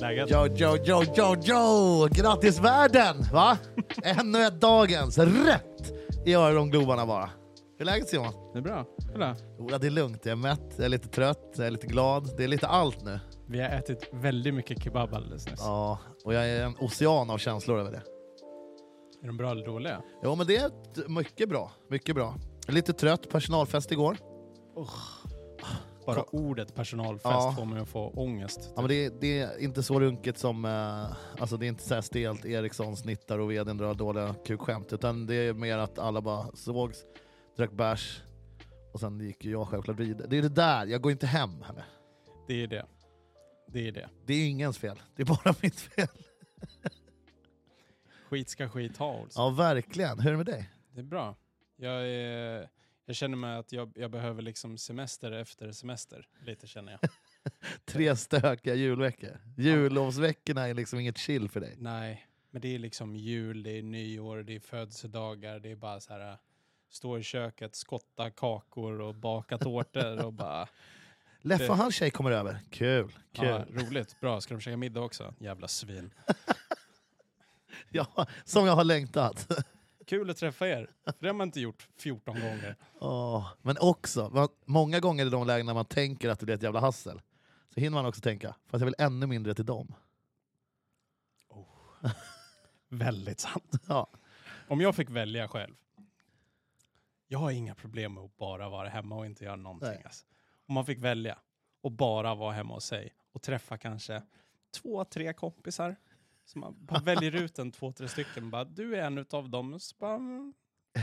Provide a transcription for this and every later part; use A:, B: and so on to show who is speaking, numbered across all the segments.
A: Läget?
B: Jo, jo, jo, jo, jo! Grattis världen! Va? Ännu ett dagens rätt i öronglobbarna bara. Hur är läget Simon?
C: Det är bra. Kolla.
B: Ola, det är lugnt. Jag är mätt, jag är lite trött, jag är lite glad. Det är lite allt nu.
C: Vi har ätit väldigt mycket kebab alldeles nyss.
B: Ja, och jag är en ocean av känslor över det.
C: Är de bra eller dåliga?
B: Jo, men det är ett- mycket bra. Mycket bra. Lite trött, personalfest igår.
C: Bara ordet personalfest
B: Ja.
C: får mig att få ångest.
B: Ja, men det, det är inte så runket som... Eh, alltså det är inte så här stelt Eriksson snittar och vdn drar dåliga kukskämt. Utan det är mer att alla bara sågs, drack bärs och sen gick ju jag självklart vidare. Det är det där, jag går inte hem. Henne.
C: Det är det. Det är det.
B: Det är ingens fel, det är bara mitt fel.
C: Skit ska skit ha, Olsson.
B: Ja, verkligen. Hur är det med dig?
C: Det är bra. Jag, är, jag känner mig att jag, jag behöver liksom semester efter semester. Lite känner jag.
B: Tre stökiga julveckor. Jullovsveckorna är liksom inget chill för dig.
C: Nej, men det är liksom jul, det är nyår, det är födelsedagar, det är bara så här äh, stå i köket, skotta kakor och baka tårtor och bara
B: Leffe och hans tjej kommer över. Kul, kul.
C: ja, roligt, bra, ska de käka middag också? Jävla svin.
B: Ja, som jag har längtat.
C: Kul att träffa er, för det har man inte gjort 14 gånger.
B: Åh, men också, va- många gånger i de lägen när man tänker att det blir ett jävla hassel, så hinner man också tänka, fast jag vill ännu mindre till dem.
C: Väldigt sant.
B: Ja.
C: Om jag fick välja själv. Jag har inga problem med att bara vara hemma och inte göra någonting.
B: Nej.
C: Alltså. Om man fick välja och bara vara hemma hos sig och träffa kanske två, tre kompisar. Så man bara väljer ut en, två, tre stycken. Bara, du är en utav dem. Så bara, mm,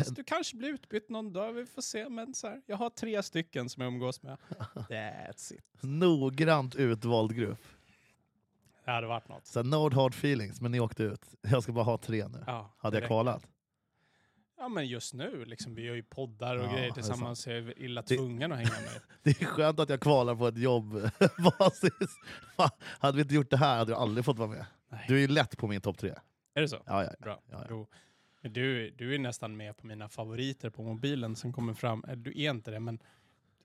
C: så du kanske blir utbytt någon dag, vi får se. Men så här, jag har tre stycken som jag umgås med. That's it.
B: Noggrant utvald grupp.
C: Det hade varit något.
B: Så här, no hard feelings, men ni åkte ut. Jag ska bara ha tre nu.
C: Ja,
B: Hade jag
C: direkt.
B: kvalat?
C: Ja, men just nu, liksom, vi gör ju poddar och
B: Ja, det
C: grejer
B: är
C: tillsammans. Så jag är illa
B: Det-
C: tvungen att hänga med.
B: Det är skönt att jag kvalar på ett jobbbasis. Fan, hade vi inte gjort det här hade jag aldrig fått vara med.
C: Nej.
B: Du är ju lätt på min topp tre.
C: Är det så?
B: Ja, ja.
C: Bra.
B: Ja, ja.
C: Jo. Men du, du är nästan med på mina favoriter på mobilen som kommer fram. Eller Du är inte det, men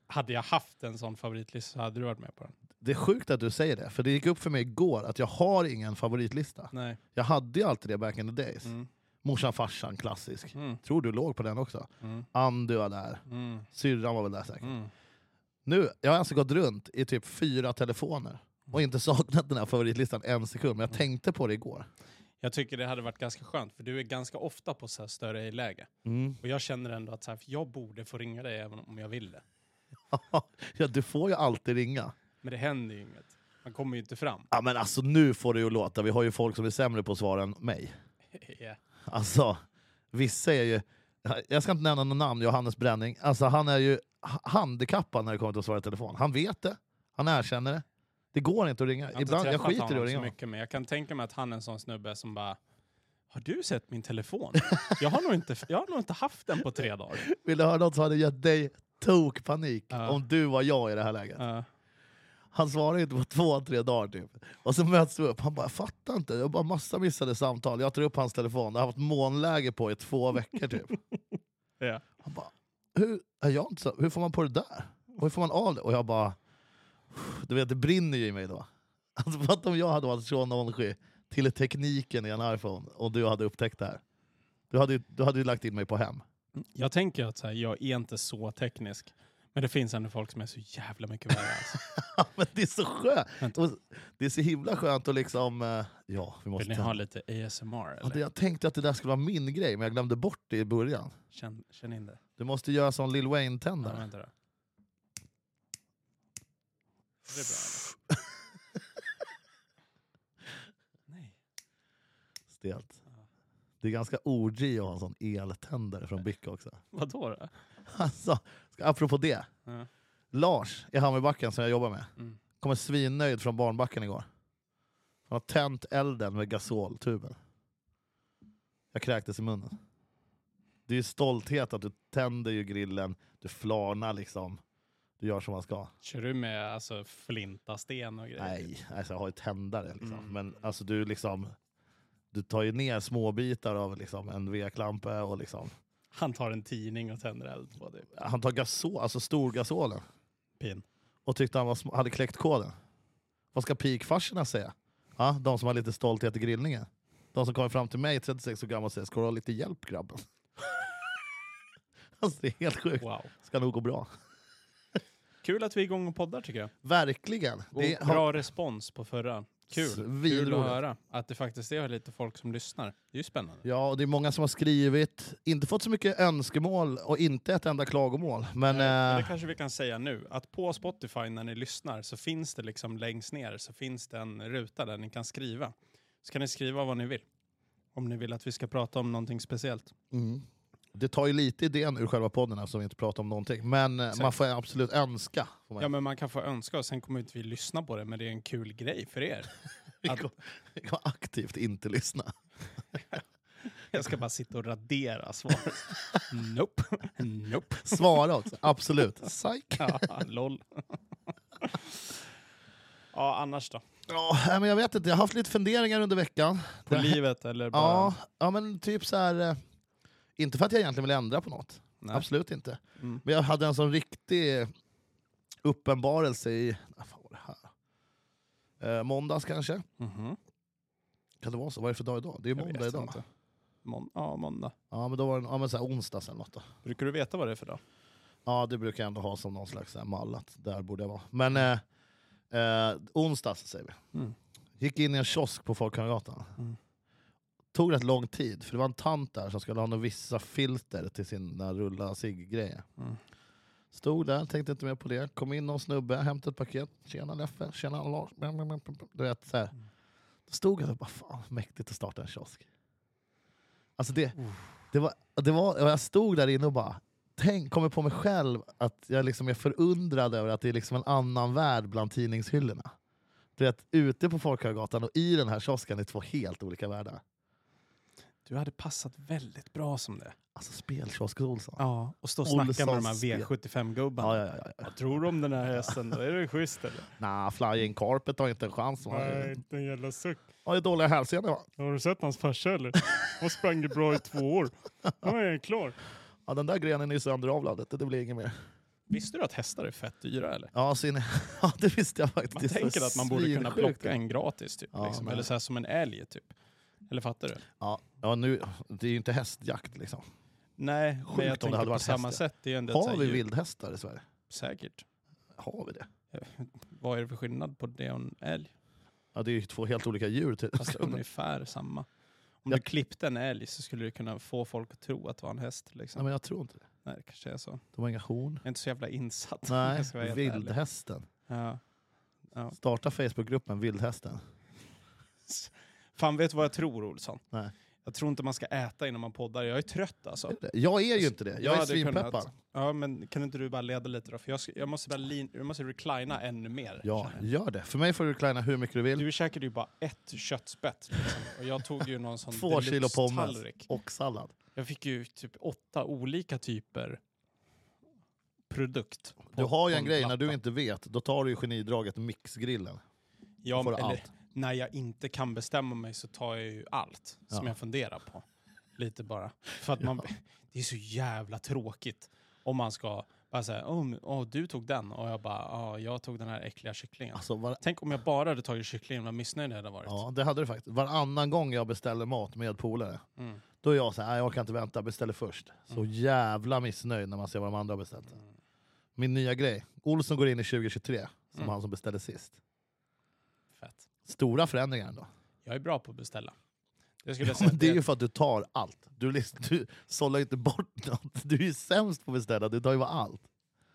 C: hade jag haft en sån favoritlista så hade du varit med på den.
B: Det är sjukt att du säger det, för det gick upp för mig igår att jag har ingen favoritlista.
C: Nej.
B: Jag hade ju alltid det back in the days.
C: Mm.
B: Morsan, farsan, klassisk.
C: Mm.
B: Tror du låg på den också?
C: Mm.
B: Andy var där.
C: Mm.
B: Syrran var väl där säkert.
C: Mm.
B: Nu, jag har alltså gått runt i typ fyra telefoner och inte saknat den här favoritlistan en sekund, men jag tänkte på det igår.
C: Jag tycker det hade varit ganska skönt, för du är ganska ofta på så här större läge. Och jag känner ändå att så här, jag borde få ringa dig även om jag vill det.
B: ja, du får ju alltid ringa.
C: Men det händer ju inget. Man kommer ju inte fram.
B: Ja, men alltså nu får det ju låta. Vi har ju folk som är sämre på att svara än mig.
C: Ja.
B: Alltså, vissa är ju... Jag ska inte nämna något namn, Johannes Bränning. Alltså han är ju h- handikappad när det kommer till att svara i telefon. Han vet det, han erkänner det. Det går inte att ringa.
C: Jag har
B: Ibland,
C: inte
B: jag
C: träffat
B: skiter i
C: honom så
B: att ringa. honom.
C: mycket, men jag kan tänka mig att han är en sån snubbe som bara har du sett min telefon? Jag har nog inte, jag har nog inte haft den på tre dagar.
B: Vill du höra något som hade gett dig tokpanik
C: Ja.
B: om du var jag i det här läget?
C: Ja.
B: Han svarade inte på två, tre dagar typ. Och så möts vi upp, han bara “fattar inte, jag har bara massa missade samtal, jag tar upp hans telefon, det har jag haft månläge på i två veckor typ”.
C: Ja.
B: Han bara “hur, är jag inte så, hur får man på det där? Och hur får man av det?” Och jag bara “du vet, det brinner ju i mig då”. Alltså fatta om jag hade varit Sean Ongy till tekniken i en iPhone och du hade upptäckt det här. Du hade, ju- du hade ju lagt in mig på hem.
C: Jag tänker att så här, jag är inte så teknisk, men det finns ändå folk som är så jävla mycket värre. Alltså.
B: Ja, men det är så skönt! Och det är så himla skönt att liksom... eh, Ja, vi måste
C: Vill ni
B: tända.
C: ha lite ASMR?
B: Ja, det,
C: Eller?
B: jag tänkte att det där skulle vara min grej, men jag glömde bort det i början.
C: Känn, känn in det.
B: Du måste göra som Lil
C: Ja,
B: Wayne-tändare.
C: vänta då. Är det bra eller? Nej.
B: Stelt. Det är ganska OG att ha en sån eltändare från Bic också.
C: Vadå då?
B: Alltså, ska- apropå det.
C: Ja.
B: Lars i Hammarbacken som jag jobbar med,
C: Mm.
B: kommer svinnöjd från barnbacken igår. Han har tänt elden med gasoltuben. Jag kräktes i munnen. Det är ju stolthet att du tänder ju grillen, du flarnar liksom. Du gör som man ska.
C: Kör du med alltså, flintasten och grejer?
B: Nej, alltså jag har ju tändare. Liksom.
C: Mm.
B: Men alltså du liksom... Du tar ju ner småbitar av liksom, en vedklampe och liksom...
C: Han tar en tidning och tänder eld på det.
B: Han tar gasol, alltså storgasolen
C: Pin.
B: och tyckte han var, sm- hade kläckt koden. Vad ska pikfarsorna säga? Ja, de som har lite stolthet i grillningen. De som kommer fram till mig 36 år gammal och säger “Ska du ha lite hjälp grabben?” Alltså det är helt sjukt.
C: Wow.
B: Ska nog gå bra.
C: Kul att vi är igång och poddar tycker jag.
B: Verkligen.
C: Och
B: Det har
C: bra respons på förra. Kul. Kul att
B: Svinroligt.
C: höra att det faktiskt är lite folk som lyssnar. Det är ju spännande.
B: Ja, och det är många som har skrivit, inte fått så mycket önskemål och inte ett enda klagomål. Men,
C: Nej, men det
B: eh,
C: kanske vi kan säga nu, att på Spotify när ni lyssnar så finns det liksom längst ner så finns det en ruta där ni kan skriva. Så kan ni skriva vad ni vill. Om ni vill att vi ska prata om någonting speciellt.
B: mm, det tar ju lite idén ur själva podden eftersom vi inte pratar om någonting. Men eh, man
C: Exakt.
B: får absolut önska. Får man.
C: Ja men man kan få önska och sen kommer inte vi lyssna på det men det är en kul grej för er.
B: vi,
C: att-
B: kommer, vi kommer aktivt inte lyssna.
C: Jag ska bara sitta och radera svaret. Nope. Nope.
B: Svara också, absolut. Psyk.
C: Ja, lol. Ja, annars då?
B: Ja, nej, men jag vet inte, jag har haft lite funderingar under veckan.
C: På
B: Det-
C: livet eller bara?
B: Ja, ja men typ så här. eh, Inte för att jag egentligen vill ändra på något.
C: Nej.
B: Absolut inte.
C: Mm.
B: Men jag hade en sån riktig uppenbarelse i... ah, Fan var det här? Eh, måndags kanske?
C: Mhm.
B: Kan det vara så? Vad är det för dag idag? Det är
C: Jag
B: måndag
C: vet
B: idag.
C: inte. Mån- ja, måndag.
B: Ja, men då var det ja, men så här onsdags eller något då.
C: Brukar du veta vad det är för dag?
B: Ja, det brukar jag ändå ha som någon slags så här mall att där borde jag vara. Men eh, eh, onsdags säger vi.
C: Mm.
B: Gick in i en kiosk på Folkungagatan.
C: Mm.
B: Tog rätt lång tid, för det var en tant där som skulle ha några vissa filter till sina rulla sig grejer
C: Mm.
B: Stod där, tänkte inte mer på det. Kom in någon snubbe, hämtade ett paket. Tjena Leffe, tjena Lars. Bam, bam, bam, bam, bam. Du vet, så här.
C: Mm.
B: Då stod jag där och bara, fan mäktigt att starta en kiosk. Alltså det, det var, det var, och jag stod där inne och bara, tänk, kommer på mig själv att jag liksom är förundrad över att det är liksom en annan värld bland tidningshyllorna. Du vet, ute på Folkungagatan och i den här kiosken är två helt olika världar.
C: Du hade passat väldigt bra som det.
B: Alltså spelkiosk Olsson.
C: Ja, och stå och snacka med de här
B: Olssons spel.
C: V75-gubbarna.
B: Ja, ja, ja, ja.
C: Vad tror du om den här hästen då? Är det schysst eller?
B: Nah, Flying Carpet har inte en chans. Han har-
C: inte en jävla suck.
B: har ju dåliga hälsenor. va?
C: Har du sett hans farsa eller? Han sprang ju bra i två år. Nu är han klar.
B: Ja, den där grenen är ju sönderavlad. Det det blir inget mer.
C: Visste du att hästar är fett dyra eller?
B: Ja, sin... ja det visste jag faktiskt.
C: Man
B: Det är så
C: tänker att man borde kunna
B: svinsjukt.
C: plocka en gratis typ.
B: Ja,
C: liksom.
B: men-
C: Eller så här som en älg typ. Eller fattar du?
B: Ja, ja, nu... Det är ju inte hästjakt liksom.
C: Nej, men
B: om
C: jag
B: det hade
C: tänker på
B: varit
C: samma
B: hästar.
C: sätt. Det är ju ändå ett så
B: Har
C: här
B: vi
C: djur-
B: vildhästar i Sverige?
C: Säkert.
B: Har vi det?
C: Vad är det för skillnad på det och en älg?
B: Ja, det är ju två helt olika djur. typ. Till.
C: Fast ungefär samma. Om
B: Jag-
C: du klippte en älg så skulle du kunna få folk att tro att det var en häst. Liksom.
B: Nej, men jag tror inte det.
C: Nej, det kanske är så.
B: De har inga horn.
C: Jag är inte så jävla insatt. om
B: Nej,
C: jag ska vara helt ärlig.
B: vildhästen.
C: Ja. Ja.
B: Starta Facebookgruppen Vildhästen.
C: Fan, vet du vad jag tror Olsson?
B: Nej.
C: Jag tror inte man ska äta innan man poddar. Jag är trött alltså.
B: Är det det? Jag är ju inte det. Jag, är
C: hade kunnat-
B: svinpeppad.
C: Ja, men kan inte du bara leda lite då? För jag, ska, jag, måste, bara lin, jag måste reclina ännu mer.
B: Ja,
C: känner jag.
B: gör det. För mig får du kleina hur mycket du vill.
C: Du käkade ju bara ett köttspett. Liksom. Och jag tog ju någon sån
B: Två kilo pommes
C: deluxe-tallrik.
B: och sallad.
C: Jag fick ju typ åtta olika typer produkt. på-
B: Du har ju
C: på
B: en grej, när
C: platta.
B: du inte vet, då tar du ju genidraget mixgrillen.
C: Ja,
B: får du
C: eller
B: allt.
C: när jag inte kan bestämma mig så tar jag ju allt som
B: Ja.
C: jag funderar på. Lite bara. För att man, det är så jävla tråkigt om man ska bara säga åh men- åh, du tog den och jag bara ja jag tog den här äckliga kycklingen.
B: Alltså, var,
C: Tänk om jag bara hade tagit kycklingen, vad missnöjd jag hade varit.
B: ja, det hade du faktiskt. Varannan gång jag beställer mat med polare,
C: Mm.
B: då är jag så här, "Nej, jag kan inte vänta, beställer först. Så jävla missnöjd när man ser vad de andra har beställt.
C: Mm.
B: Min nya grej, Olsson går in i 2023, som
C: Mm.
B: han som beställde sist.
C: Fett.
B: Stora förändringar ändå.
C: Jag är bra på att beställa. Det skulle
B: Ja,
C: jag säga
B: men
C: att
B: det är
C: jag-
B: ju för att du tar allt. Du, liksom, du sållar ju inte bort något. Du är ju sämst på att beställa, du tar ju bara allt.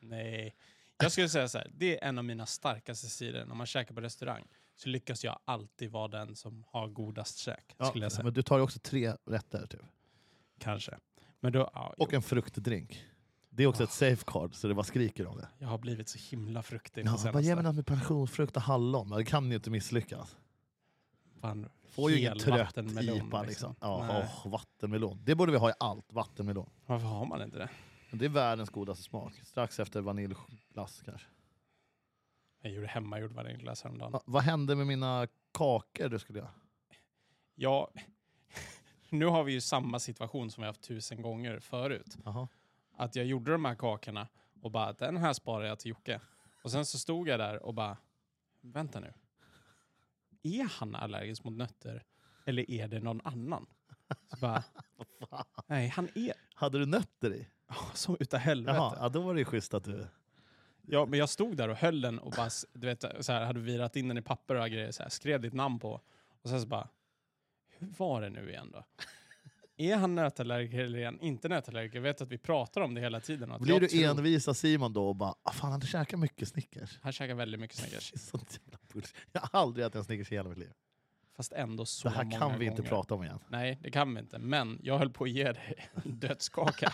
C: Nej. Jag skulle säga så här, det är en av mina starkaste sidor. När man käkar på restaurang så lyckas jag alltid vara den som har godast käk. skulle jag säga.
B: Men du tar ju också tre rätter typ.
C: Kanske. Men då, ja,
B: och
C: jo,
B: en fruktdrink. Det är också ett safeguard, så det bara skriker om det.
C: jag har blivit så himla fruktig på
B: Ja, bara ge
C: senaste.
B: mig något med pensionsfrukt och hallon, det kan ju inte misslyckas.
C: Fan,
B: Får ju
C: hel
B: ingen trött
C: vattenmelon,
B: IPA liksom. Ja,
C: Nej,
B: åh, vattenmelon. Det borde vi ha i allt, vattenmelon.
C: Varför har man inte det?
B: Men det är världens godaste smak. Strax efter vaniljglass kanske.
C: Jag gjorde hemmagjord vaniljglass häromdagen.
B: Va, vad hände med mina kakor du skulle göra?
C: Ja, Nu har vi ju samma situation som vi haft tusen gånger förut.
B: Jaha.
C: Att jag gjorde de här kakorna och bara, den här sparar jag till Jocke. Och sen så stod jag där och bara, vänta nu. Är han allergisk mot nötter? Eller är det någon annan? Så bara, nej, han är
B: Hade du nötter i?
C: så utav helvete.
B: Jaha, ja, då var det ju schysst att du...
C: Ja, men jag stod där och höll den och bara, s- du vet, så här, hade virat in den i papper och grejer, så här, skrev ditt namn på. Och sen så bara, hur var det nu igen då? Är han nötallergiker eller är han inte nötallergiker? Jag vet att vi pratar om det hela tiden. och Att
B: Blir
C: jag
B: du
C: tror-
B: envis av Simon då och bara ah, “Fan, han käkar mycket Snickers”?
C: Han käkar väldigt mycket Snickers.
B: Det är Sånt jävla bullshit. Jag har aldrig ätit en Snickers i hela mitt liv.
C: Fast ändå så
B: Det här
C: många
B: kan vi inte
C: gånger.
B: prata om igen.
C: Nej, det kan vi inte. Men jag höll på att ge dig en dödskaka.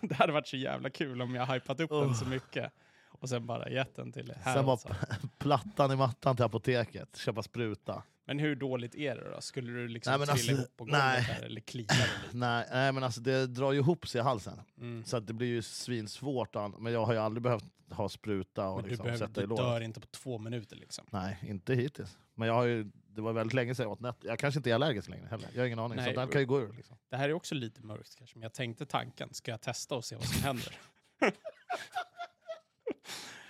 C: det hade varit så jävla kul om jag hypat upp den så mycket. Och sen bara gett den till dig. Här
B: Sen bara
C: alltså.
B: plattan i mattan till apoteket, köpa spruta.
C: Men hur dåligt är det då? Skulle du liksom
B: Nej, men
C: trilla
B: alltså,
C: ihop på golvet
B: nej.
C: där eller klia dig lite?
B: Nej, nej men alltså det drar ju ihop sig i halsen.
C: Mm.
B: Så att det blir ju svinsvårt. an- Men jag har ju aldrig behövt ha spruta och
C: Men du,
B: liksom
C: behöver,
B: sätta i
C: du
B: låret.
C: dör inte på två minuter liksom.
B: Nej, inte hittills. Men jag har ju, det var väldigt länge sedan jag åt nötter. Jag kanske inte är allergisk längre heller. Jag har ingen aning.
C: Nej,
B: så den
C: bro.
B: kan ju gå ur. Liksom.
C: Det här är också lite mörkt kanske, men jag tänkte tanken, ska jag testa och se vad som händer?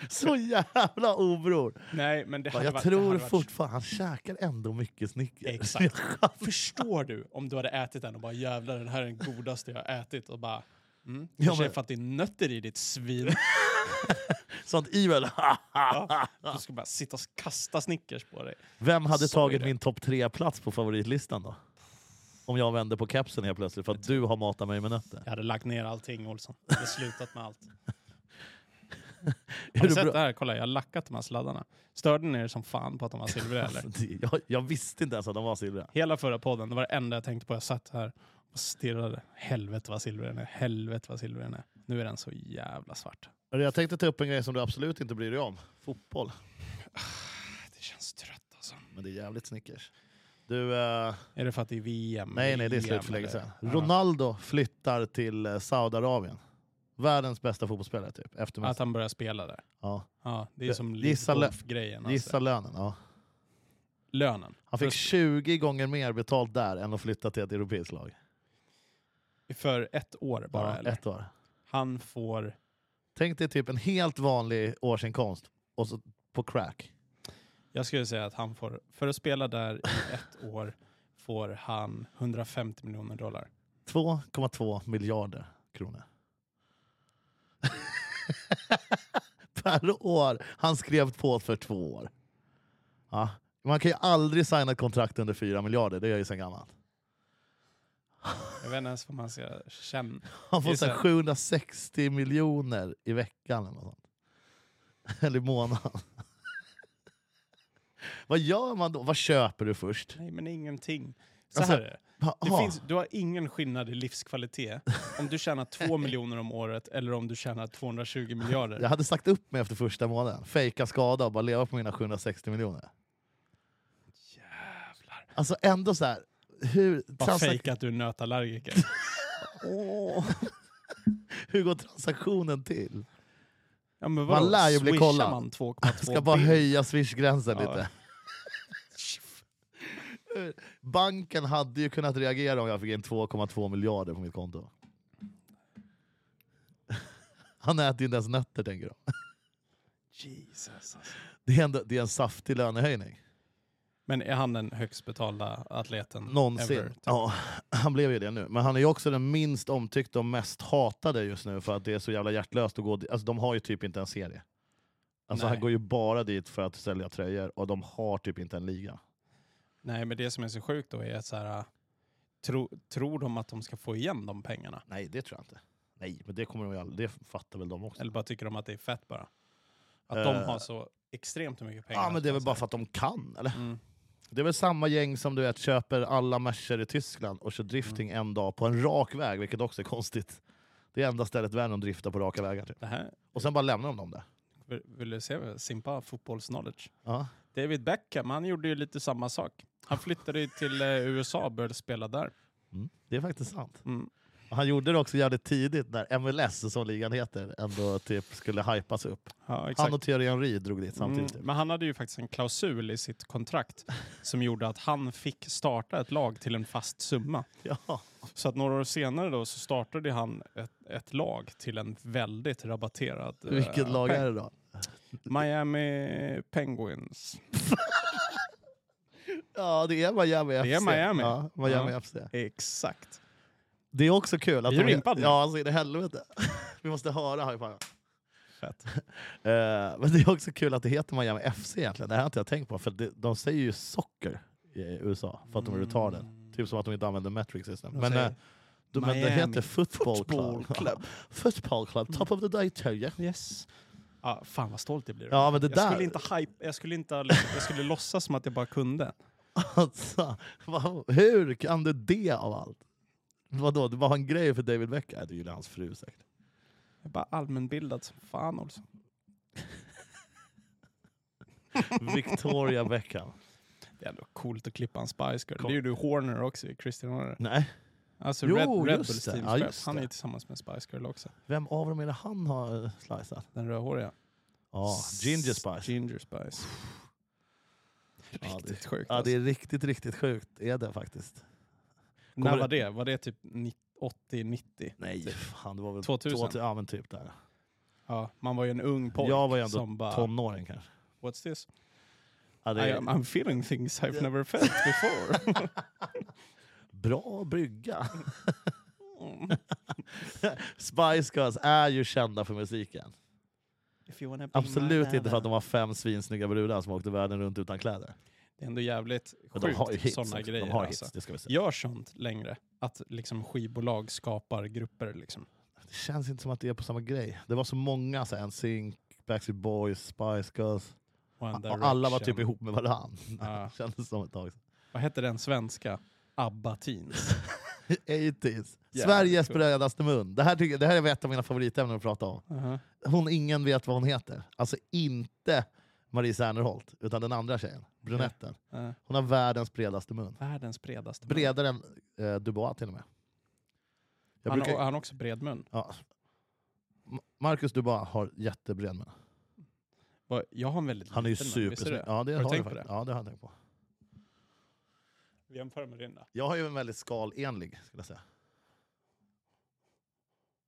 B: Så jävla obror!
C: Nej, men det
B: Bara,
C: hade
B: Jag
C: varit, det
B: tror
C: hade varit-
B: fortfarande, han käkar ändå mycket Snickers.
C: Exakt. Förstår du om du hade ätit den och bara jävlar den här är den godaste jag har ätit och bara Mm.
B: Ja,
C: Ja,
B: men-
C: för att det är nötter i ditt svin.
B: Sånt ivel.
C: Du ska bara sitta och kasta Snickers på dig.
B: Vem hade
C: Så är
B: tagit
C: det.
B: min topp tre-plats på favoritlistan då? Om jag vände på kepsen helt plötsligt för att du har matat mig med nötter.
C: Jag hade lagt ner allting Olsson. Jag hade slutat med allt.
B: Är
C: Har du
B: du
C: sett
B: bra-
C: det här? Kolla, jag har lackat de här sladdarna. Störde ni er som fan på att de var silvriga eller?
B: Jag, jag visste inte ens att de var silvriga.
C: Hela förra podden, det var det enda jag tänkte på. Jag satt här och stirrade. Helvete vad silvrig den är. Helvete vad silvrig den är. Nu är den så jävla svart.
B: Jag tänkte ta upp en grej som du absolut inte bryr dig om. Fotboll.
C: Det känns trött alltså.
B: Men det är jävligt Snickers. Du, eh,
C: Är det för att det är VM?
B: nej nej det är slut för länge sedan. Ronaldo flyttar till eh, Saudiarabien. Världens bästa fotbollsspelare typ. Efter
C: Att
B: Messi.
C: han börjar spela där.
B: Ja.
C: Ja, det är
B: Det-
C: som
B: gissa lö-
C: Lidolf-grejen.
B: Gissa
C: Alltså.
B: lönen. Ja.
C: Lönen.
B: Han fick
C: Plus-
B: 20 gånger mer betalt där än att flytta till ett europeiskt lag.
C: För ett år bara,
B: Ja,
C: eller?
B: ett år.
C: Han får...
B: Tänk dig typ en helt vanlig årsinkomst och så på crack.
C: Jag skulle säga att han får... För att spela där i ett år får han 150 miljoner dollar.
B: 2,2 miljarder kronor. per år. Han skrev på för två år. Ja. Man kan ju aldrig signa ett kontrakt under 4 miljarder, det är jag ju sen gammalt.
C: Jag vet inte ens vad man ska känna.
B: Han får
C: Det är
B: så här
C: så här-
B: 760 miljoner i veckan eller något sånt. Eller i månaden. Vad gör man då? Vad köper du först?
C: Nej, men ingenting. Så
B: Alltså,
C: här är det.
B: Ha,
C: Det
B: ha.
C: finns, du har ingen skillnad i livskvalitet om du tjänar 2 miljoner om året eller om du tjänar 220 miljarder.
B: Jag hade sagt upp mig efter första månaden. Fejka skada och bara leva på mina 760 miljoner.
C: Jävlar.
B: Alltså ändå så här. Hur,
C: Bara
B: transak-
C: fejka att du är nötallergiker. Åh.
B: hur går transaktionen till?
C: Ja, men vadå?
B: Man lär ju bli
C: Swishar
B: kollad.
C: man 2,2
B: Ska bara
C: bild?
B: höja swishgränsen
C: Ja.
B: lite. Banken hade ju kunnat reagera om jag fick in 2,2 miljarder på mitt konto. Han äter ju inte ens nötter tänker de.
C: Jesus. alltså.
B: Det är, ändå, det är en saftig lönehöjning.
C: Men är han den högst betalda atleten
B: Någonsin.
C: ever? typ.
B: ja, han blev ju det nu. Men han är ju också den minst omtyckta och mest hatade just nu för att det är så jävla hjärtlöst att gå dit. Alltså de har ju typ inte en serie. Alltså
C: Nej.
B: han går ju bara dit för att sälja tröjor och de har typ inte en liga.
C: Nej, men det som är så sjukt då är att så här, äh, tro, tror de att de ska få igen de pengarna?
B: Nej, det tror jag inte. Nej, men det kommer de ju aldrig. Det fattar väl de också.
C: Eller bara tycker de att det är fett bara? Att
B: Eh.
C: de har så extremt mycket pengar.
B: Ja, men det är väl
C: Så
B: bara
C: här,
B: för att de kan, eller?
C: Mm.
B: Det är väl samma gäng som du vet köper alla Mercer i Tyskland och kör drifting
C: Mm.
B: en dag på en rak väg, vilket också är konstigt. Det är enda stället i världen de driftar på raka vägar. Typ.
C: Det här,
B: Och sen bara lämnar de dem där.
C: vill, vill du se vad Simpa fotbollsknowledge?
B: Ja.
C: David Beckham, han gjorde ju lite samma sak. Han flyttade ju till eh, USA och började spela där.
B: Det är Mm. faktiskt sant.
C: Mm.
B: Och han gjorde det också jävligt tidigt när MLS, som ligan heter, ändå typ skulle hypas upp.
C: Ja, exakt.
B: Han och Thierry Henry drog dit samtidigt. typ.
C: Mm, men han hade ju faktiskt en klausul i sitt kontrakt som gjorde att han fick starta ett lag till en fast summa.
B: Ja.
C: Så att några år senare då så startade han ett, ett lag till en väldigt rabatterad... eh,
B: Vilket lag
C: peng.
B: är det då?
C: Miami Penguins.
B: Ja, det är Miami FC.
C: Det är Miami.
B: Ja, Miami
C: Ja.
B: FC.
C: Exakt.
B: Det är också kul. Att
C: Är du
B: de-
C: impad nu?
B: Ja, så in i helvete. Vi måste höra high five.
C: Fett.
B: Eh, men det är också kul att det heter Miami FC egentligen. Det här har inte jag tänkt på, för det, de säger ju socker i USA för att de är retarded. Typ som att de inte använder metric system.
C: Mm. De
B: Men,
C: säger
B: eh, de, men det
C: Miami
B: heter football,
C: Football
B: club.
C: Club.
B: football club, top of the day Terje.
C: Yes. Ja, fan vad stolt jag blir.
B: Ja men det
C: jag,
B: där,
C: skulle inte hype, jag skulle inte... Jag skulle låtsas som att jag bara kunde.
B: alltså, vad- hur kan du det av allt? Vadå, du bara har en grej för David Beckham? Nej, Du gillar hans fru säkert.
C: Jag är bara allmänbildad som fan alltså. Olsson.
B: Victoria Beckham.
C: Det är ändå coolt att klippa en Spice Girl. Det är ju du Horner också, i Christian Horner.
B: Nej,
C: Alltså
B: Jo,
C: Red, Red
B: just
C: Bulls
B: det.
C: teamchef.
B: Ja, just
C: han är
B: det.
C: ju tillsammans med Spice Girl också.
B: vem av dem är det han har eh, slicat?
C: Den rödhåriga.
B: Ja, Ginger Spice.
C: Ginger Spice.
B: Ja,
C: Riktigt
B: det,
C: sjukt
B: ja,
C: alltså.
B: det är riktigt, riktigt sjukt. Det är det faktiskt.
C: När
B: kommer
C: var det? Var det typ 80-90?
B: Nej, fan, det var väl
C: 2000.
B: 2000 ja, men typ där.
C: Typ. Ja, man var ju en ung pojk
B: Jag var ju ändå
C: som bara,
B: Tonåring kanske.
C: what's this?
B: Ja, det
C: I
B: är
C: am, I'm feeling things I've never felt before.
B: Bra brygga.
C: Mm.
B: Spice Girls är ju kända för musiken.
C: Mm, If you wanna be my
B: Absolut inte för
C: lover.
B: att de var fem svinsnygga brudar som åkte världen runt utan kläder.
C: Det är ändå jävligt
B: Men de har ju
C: sjukt
B: hits.
C: sådana
B: också.
C: grejer.
B: de har hits,
C: alltså.
B: det ska vi säga.
C: Gör sånt längre. Att liksom skivbolag skapar grupper liksom.
B: Det känns inte som att det är på samma grej. Det var så många, så här, NSYNC, Backstreet Boys, Spice Girls.
C: One
B: Och alla var
C: Direction.
B: typ ihop med varandra.
C: Ja.
B: Kändes som ett tag sedan.
C: Vad hette den svenska? Abba Teens.
B: 80s.
C: Jävligt
B: Sveriges
C: coolt.
B: brödaste mun. Det här, tycker, jag- det här är ett av mina favoritämnen att prata om.
C: Aha.
B: hon ingen vet vad hon heter. Alltså inte Marie Serneholt, utan den andra tjejen, brunetten.
C: Eh,
B: Hon har världens bredaste mun.
C: världens bredaste mun.
B: Bredare än eh, Dubois till och med. Jag
C: han,
B: brukar,
C: har, han har också bred mun.
B: ja. Ma- Marcus Dubois har jättebred mun.
C: Vad- Jag har en väldigt
B: Han är ju
C: liten mun, visste du
B: supersnygg.
C: det?
B: Ja, det
C: Har du
B: har,
C: tänkt
B: jag
C: på
B: faktiskt.
C: det?
B: Ja, det har jag tänkt på.
C: Jämför med din då.
B: Jag har ju en väldigt skalenlig, skulle jag säga.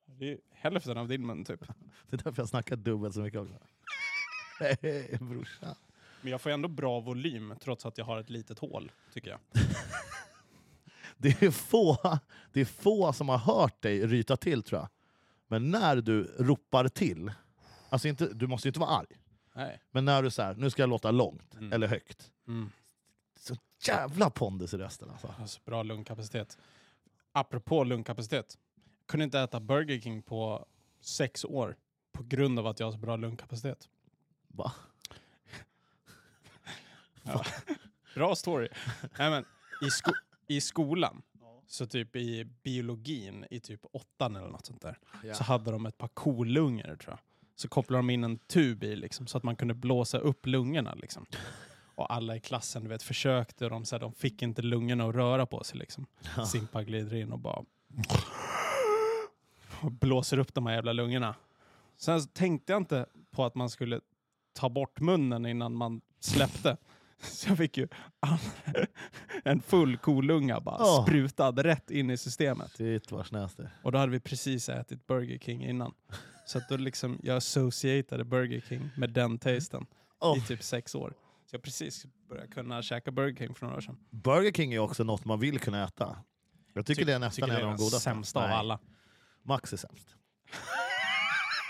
C: Det är ju hälften av din mun typ.
B: Det är därför jag snackar dubbelt så mycket också. Hej brorsan.
C: Men jag får ändå bra volym trots att jag har ett litet hål, tycker jag.
B: Det är, få, det är få som har hört dig ryta till tror jag. Men när du ropar till, alltså inte, du måste ju inte vara arg,
C: Nej.
B: men när du säger nu ska jag låta långt
C: Mm.
B: eller högt.
C: Mm.
B: Så jävla pondus i rösten alltså.
C: Alltså, bra lungkapacitet. Apropå lungkapacitet. Jag kunde inte äta Burger King på sex år på grund av att jag har så bra lungkapacitet.
B: Va?
C: Bra story. Nej, men, i, sko I skolan, så typ i biologin i typ åttan eller något sånt där, så hade de ett par kolungor tror jag. Så kopplade de in en tub i liksom, så att man kunde blåsa upp lungorna. Liksom. Och alla i klassen du vet, försökte, och de, så här, de fick inte lungorna att röra på sig. Liksom. Simpa glider in och bara och blåser upp de här jävla lungorna. Sen så tänkte jag inte på att man skulle ta bort munnen innan man släppte. Så jag fick ju all- en full kolunga bara
B: Åh.
C: sprutad rätt in i systemet.
B: Shit vad snäst det är.
C: Och då hade vi precis ätit Burger King innan. Så att då liksom, jag associatade Burger King med den
B: Mm.
C: tasten
B: Åh,
C: i typ sex år. Så jag precis började kunna käka Burger King för några år sedan.
B: Burger King är också något man vill kunna äta. Jag tycker
C: Ty-
B: det är nästan en
C: det är
B: av de
C: den
B: godaste.
C: sämsta
B: Nej,
C: av alla.
B: Max är sämst.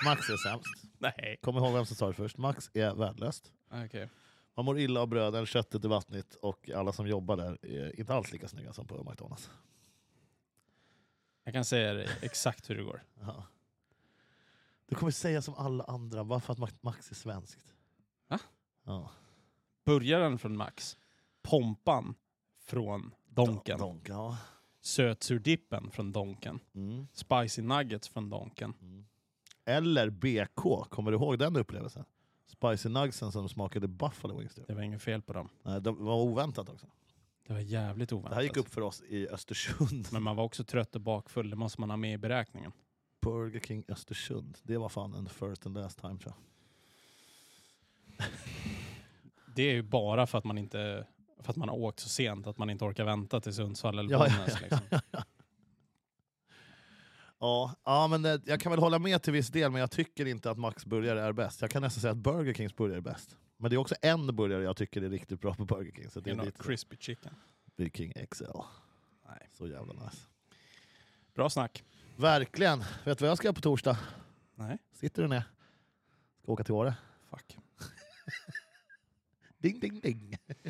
B: Max är sämst.
C: Nej.
B: Kom ihåg vem som sa det först. Max är värdelöst.
C: Okej.
B: Man mår illa av bröden, köttet i vattnet och alla som jobbar där är inte alls lika snygga som på McDonalds.
C: Jag kan säga dig exakt hur det går.
B: Ja. Du kommer säga som alla andra, bara för att Mac- Max är svenskt.
C: Va?
B: Ja.
C: Burgaren från Max. Pompan från Donken.
B: Donken, ja.
C: Sötsurdippen från Donken.
B: Mm.
C: Spicy nuggets från Donken.
B: Mm. Eller BK, kommer du ihåg den upplevelsen? Spicy nuggetsen som smakade Buffalo Wings. typ.
C: Det var inget fel på dem.
B: Nej, de var oväntat också.
C: Det var jävligt
B: Det
C: oväntat.
B: här gick upp för oss i Östersund.
C: Men man var också trött och bakfull, det måste man ha med i beräkningen.
B: Burger King Östersund. Det var fan en first and last time tror jag.
C: Det är ju bara för att man inte för att man har åkt så sent att man inte orkar vänta till Sundsvall eller
B: Ja, ja,
C: Bollnäs. Liksom.
B: Ja, ja men eh, jag kan väl hålla med till viss del, men jag tycker inte att Max burgare är bäst. Jag kan nästan säga att Burger Kings burgare är bäst. Men det är också en burgare jag tycker är riktigt bra på Burger King. Så det
C: Det är
B: är
C: något
B: lite
C: crispy chicken.
B: Burger King XL.
C: Nej.
B: Så jävla nice.
C: Bra snack.
B: Verkligen. Vet du vad jag ska göra på torsdag?
C: Nej,
B: Sitter du ner? Ska åka till Åre.
C: fuck.
B: Ding, ding, ding.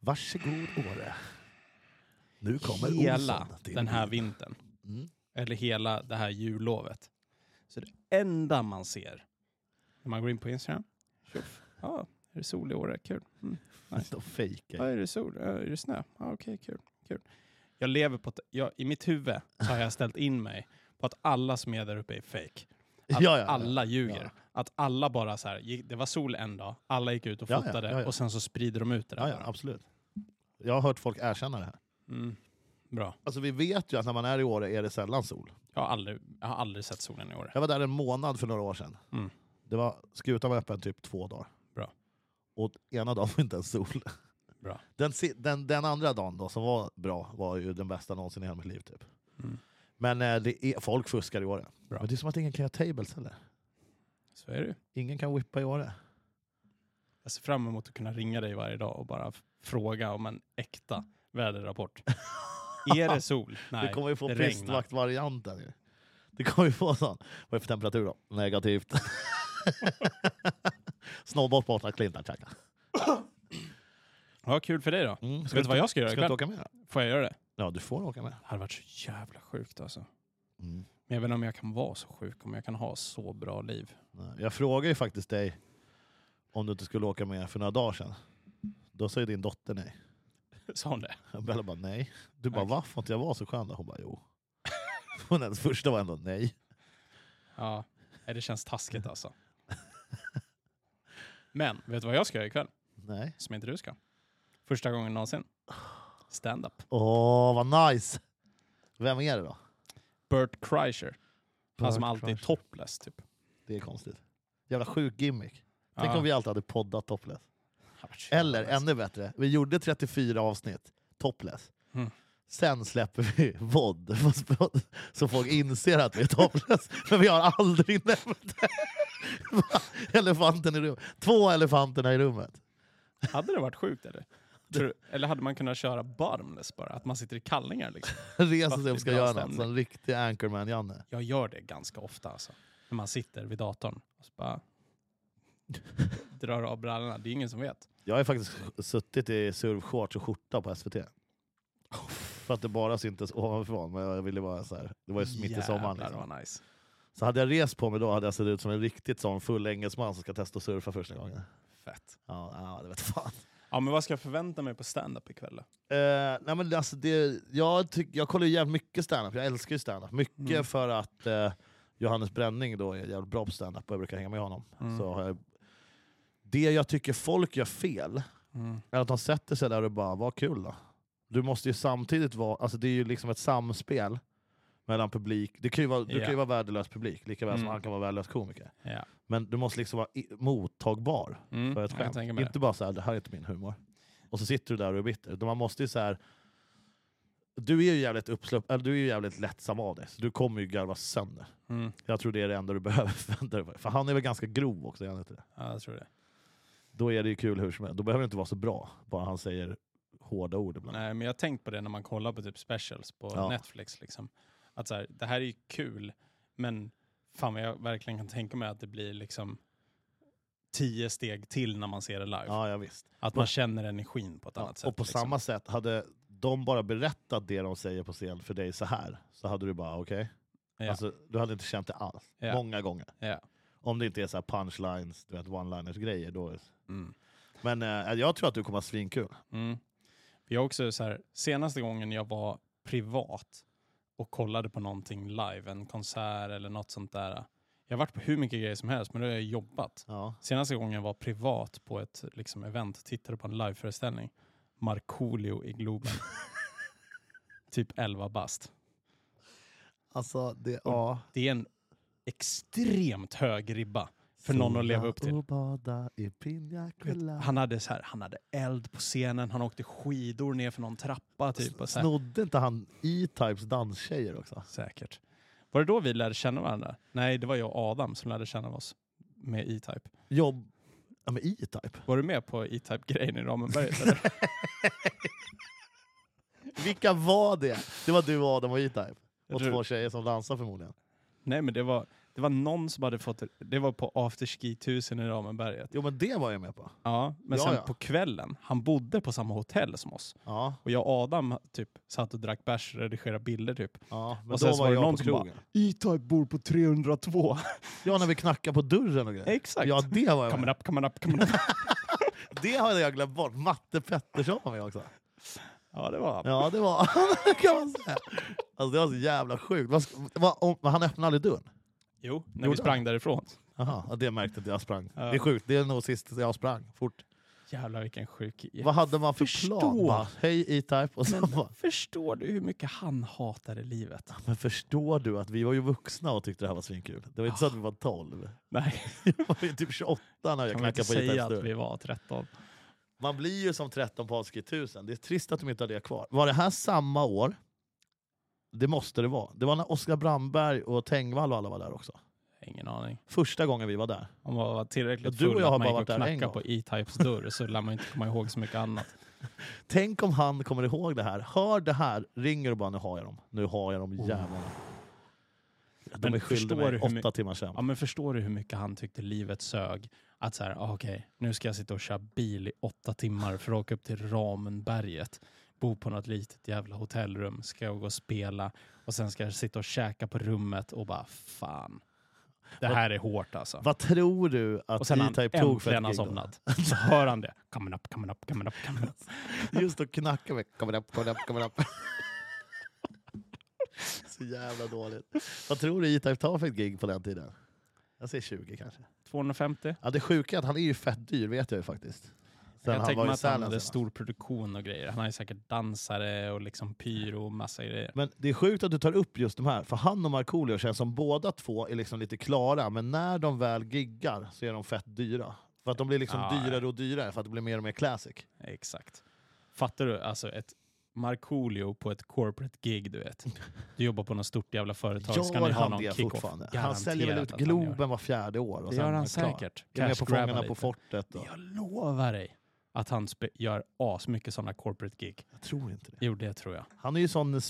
B: Varsågod Åre. Nu kommer
C: hela
B: Olsson till
C: den här
B: byn.
C: vintern,
B: Mm.
C: eller hela det här jullovet. Så det enda man ser när man går in på Instagram, tjoff, ja, är det sol i år? Kul. Mm. Nice.
B: De fejkar
C: Ja,
B: ju.
C: är det sol? Ja, är det snö? Ja, Okej, kul. kul. Jag lever på... ett- Jag, I mitt huvud så har jag ställt in mig på att alla som är där uppe är fake. Att
B: Ja, ja, ja.
C: alla ljuger.
B: Ja.
C: Att alla bara så här, gick, det var sol en dag, alla gick ut och
B: Ja, ja,
C: fotade
B: ja, ja.
C: och sen så sprider de ut det
B: Ja,
C: där.
B: ja,
C: bara.
B: absolut. Jag har hört folk erkänna det här.
C: Mm. Bra.
B: Alltså vi vet ju att när man är i Åre är det sällan sol.
C: Jag har aldrig, jag har aldrig sett solen i år.
B: Jag var där en månad för några år sedan.
C: Mm.
B: Det var, skutan var öppen typ två dagar.
C: Bra.
B: Och ena dagen var inte ens sol.
C: Bra.
B: Den, si- den, den andra dagen då, som var bra var ju den bästa någonsin i hela mitt liv. Typ.
C: Mm.
B: Men eh, det är, folk fuskar i Åre.
C: Bra.
B: Men det är som att ingen kan göra tables heller.
C: Så är det ju.
B: Ingen kan whippa i Åre.
C: Jag ser fram emot att kunna ringa dig varje dag och bara f- fråga om en äkta väderrapport. är det sol? Nej.
B: du kommer ju få
C: det regnar.
B: pistvaktvarianten. ju. Du kommer ju få sån. Vad är det för temperatur då? Negativt. Snowboard borta, klintar, tjacka.
C: Ja, kul för dig då.
B: Mm.
C: Vet du vad jag ska göra
B: Ska du inte
C: ikväll?
B: åka med? då?
C: Får jag göra det?
B: Ja, du får åka med.
C: Det hade varit så jävla sjukt alltså.
B: Mm.
C: Men jag vet inte om jag kan vara så sjuk, om jag kan ha så bra liv.
B: Nej, Jag frågade ju faktiskt dig om du inte skulle åka med för några dagar sedan. Då sa ju din dotter nej.
C: Sa hon det?
B: Bella bara nej. Du bara
C: Okej.
B: va? Får inte jag vara så skön då? Hon bara jo. Hon hennes första var ändå nej.
C: Ja. Nej, det känns taskigt alltså. Men, vet du vad jag ska göra ikväll?
B: Nej.
C: Som inte du ska. Första gången någonsin. Stand-up.
B: Åh vad nice! Vem är det då?
C: Bert Kreischer. Han som
B: Bert
C: alltid är
B: Kreischer.
C: topless typ.
B: Det är konstigt. Jävla sjuk gimmick. Tänk
C: Ja.
B: om vi alltid hade poddat topless.
C: Han var så jävla
B: Eller
C: nice.
B: ännu bättre, vi gjorde 34 avsnitt topless.
C: Mm.
B: Sen släpper vi vod så folk inser att vi är topless. Men vi har aldrig nämnt det. Elefanten i rummet. Två elefanterna i rummet.
C: Hade det varit sjukt eller? Tror du, eller hade man kunnat köra bottomless bara? Att man sitter i kallingar liksom?
B: Reser sig upp
C: Fattig
B: och ska
C: bra
B: göra något.
C: stämning.
B: Som en riktig Anchorman-Janne.
C: Jag gör det ganska ofta alltså. När man sitter vid datorn och så bara drar av brallorna. Det är ingen som vet.
B: Jag har ju faktiskt suttit i surfshorts och skjorta på SVT. För att det bara syntes ovanifrån. Men jag ville bara så här. Det var ju mitt i sommaren.
C: Jävlar
B: Liksom.
C: vad nice.
B: Så hade jag rest på mig då hade jag sett ut som en riktigt sån full engelsman som ska testa att surfa första gången.
C: Fett.
B: Ja, ja det vet fan.
C: Ja men vad ska jag förvänta mig på stand-up ikväll då?
B: Eh, nej men alltså det, jag, tyck, jag kollar ju jävligt mycket standup, jag älskar ju standup. Mycket
C: Mm.
B: för att eh, Johannes Bränning då är jävligt bra på standup och jag brukar hänga med honom.
C: Mm.
B: Så har jag, det jag tycker folk gör fel
C: Mm.
B: är att de sätter sig där och bara “vad kul då”. Du måste ju samtidigt vara, alltså det är ju liksom ett samspel mellan publik, det kan ju vara, du kan
C: Ja.
B: ju vara värdelös publik lika väl som
C: Mm.
B: han kan vara värdelös komiker.
C: Ja.
B: Men du måste liksom vara i, mottagbar
C: Mm.
B: för ett
C: jag
B: skämt.
C: tänker mig
B: Inte
C: det.
B: bara så här, det här är inte min humor. Och så sitter du där och är bitter. Utan Man måste ju så här, du är ju jävligt uppslupp, eller du är ju jävligt lättsam av dig, så du kommer ju garva sönder.
C: Mm.
B: Jag tror det är det enda du behöver förvänta dig. på. För han är väl ganska grov också, är han inte det?
C: Ja, jag tror det.
B: Då är det ju kul hur som helst. Då behöver det inte vara så bra, bara han säger hårda ord ibland.
C: Nej, men jag har tänkt på det när man kollar på typ specials på
B: Ja.
C: Netflix. Liksom. Att så här, det här är ju kul, men fan vad jag verkligen kan tänka mig att det blir liksom tio steg till när man ser det live.
B: Ja, ja, visst.
C: Att man känner energin på ett
B: Ja,
C: annat sätt.
B: och på
C: liksom.
B: samma sätt, hade de bara berättat det de säger på scen för dig så här, så hade du bara okej.
C: Ja.
B: Alltså, du hade inte känt det alls.
C: Ja.
B: Många gånger.
C: Ja.
B: Om det inte är så här punchlines, du vet one-liners grejer. Då.
C: Mm.
B: Men eh, jag tror att du kommer ha svinkul.
C: Mm. Jag har också så här, senaste gången jag var privat och kollade på någonting live, en konsert eller något sånt där. Jag har varit på hur mycket grejer som helst, men då har jag jobbat.
B: Ja.
C: Senaste gången jag var privat på ett liksom, event och tittade på en liveföreställning Markoolio i Globen. typ 11 bast.
B: Alltså, det... Ja.
C: Det är en extremt hög ribba för någon att leva upp till.
B: Sola och bada i piña colada.
C: Han hade, så här, han hade eld på scenen, han åkte skidor ner för någon trappa. Typ, och så här.
B: Snodde inte han E-Types danstjejer också?
C: Säkert. Var det då vi lärde känna varandra? Nej, det var jag och Adam som lärde känna oss med E-Type.
B: Jobb... Ja, men E-Type?
C: Var du med på E-Type-grejen i Ramenberget? eller?
B: Vilka var det? Det var du, Adam och E-Type.
C: Jag
B: Och
C: tror-
B: två tjejer som dansade förmodligen.
C: Nej, men det var, det var någon som hade fått... Det var på afterski 1000 i Ramenberget.
B: Jo, men det var jag med på.
C: Ja, men
B: Ja,
C: sen
B: ja.
C: på kvällen, han bodde på samma hotell som oss.
B: Ja,
C: Och jag och Adam typ, satt och drack bärs och redigerade bilder typ.
B: ja. men
C: Och
B: då
C: sen så
B: var
C: var det
B: jag
C: någon
B: på
C: som bara-
B: krogen.
C: E-Type bor på 302.
B: Ja, när vi knackade på dörren och grejer.
C: Exakt.
B: Ja, det var jag
C: Coming
B: med.
C: up, coming up, coming up.
B: Det hade jag glömt bort. Matte Pettersson var med också.
C: Ja, det var han.
B: Ja, det var det kan man säga. Alltså det var så jävla sjukt. Vad sk- vad- om- Han öppnade aldrig dörren.
C: Jo, när vi
B: Gjorde
C: sprang därifrån.
B: Jaha, ja, det märkte jag att jag sprang.
C: Ja.
B: Det är sjukt, det är nog sist jag sprang. Fort.
C: Jävlar vilken sjuk
B: Vad hade man för
C: Förstå.
B: plan? Bara, Hej E-Type. Och sen bara,
C: Förstår du hur mycket han hatade livet?
B: men förstår du att vi var ju vuxna och tyckte det här var svinkul. Det var inte så att vi var 12.
C: Nej,
B: Jag var ju typ 28 när jag
C: kan man inte
B: knackade på
C: säga
B: E-Types
C: att vi
B: dörr.
C: var 13.
B: Man blir ju som 13 på Aski 1000. Det är trist att de inte har det kvar. Var det här samma år? Det måste det vara. Det var när Oskar Brandberg och Tengvall och alla var där också.
C: Ingen aning.
B: Första gången vi var där.
C: Om man var tillräckligt
B: Ja, du och
C: full
B: jag har
C: att man
B: bara
C: gick och
B: varit där en
C: knackade på
B: gång.
C: E-Types dörr så lär man inte komma ihåg så mycket annat.
B: Tänk om han kommer ihåg det här, hör det här, ringer och bara nu har jag dem. Nu har jag dem jävlarna. De
C: Oh. Men
B: är
C: förstår
B: skyldiga
C: du
B: mig
C: hur my-
B: åtta timmars sömn.
C: Ja, men förstår du hur mycket han tyckte livet sög? Att så här, ah, okej, nu ska jag sitta och köra bil i åtta timmar för att åka upp till Ramenberget, bo på något litet jävla hotellrum, ska jag gå och spela och sen ska jag sitta och käka på rummet och bara fan. Det här är hårt alltså.
B: Vad tror du
C: Och
B: att
C: sen när han
B: E-Type tog för
C: äntligen
B: ett
C: har
B: gig? då?
C: somnat så hör han det. Coming up, coming up, coming up, coming up.
B: Just att knacka med kommer upp, kommer upp, kommer upp. Så jävla dåligt. Vad tror du E-Type tar för ett gig på den tiden? Jag säger 20 kanske.
C: 250.
B: Ja, det sjuka är att han är ju fett dyr vet jag ju faktiskt. Sen
C: jag tänker mig att han hade
B: senast.
C: stor produktion och grejer. Han har ju säkert dansare och liksom pyro och massa grejer.
B: Men det är sjukt att du tar upp just de här, för han och Markoolio känns som båda två är liksom lite klara, men när de väl giggar så är de fett dyra. För att de blir liksom
C: Ja, ja.
B: dyrare och dyrare, för att det blir mer och mer classic.
C: Exakt. Fattar du? Alltså ett Markoolio på ett corporate gig, du vet. Du jobbar på något stort jävla företag. Ska ni ha någon kick-off?
B: Han
C: Garanterat
B: säljer väl ut
C: att han gör.
B: Globen var fjärde år. Och
C: Det
B: sen
C: gör
B: är
C: han
B: klar.
C: säkert.
B: Är med på
C: Cash-grabbar
B: Fångarna
C: lite.
B: på fortet. Och.
C: Jag lovar dig att han spe- gör asmycket sådana corporate gig.
B: Jag tror inte det.
C: Jo, det tror jag.
B: Han är ju sån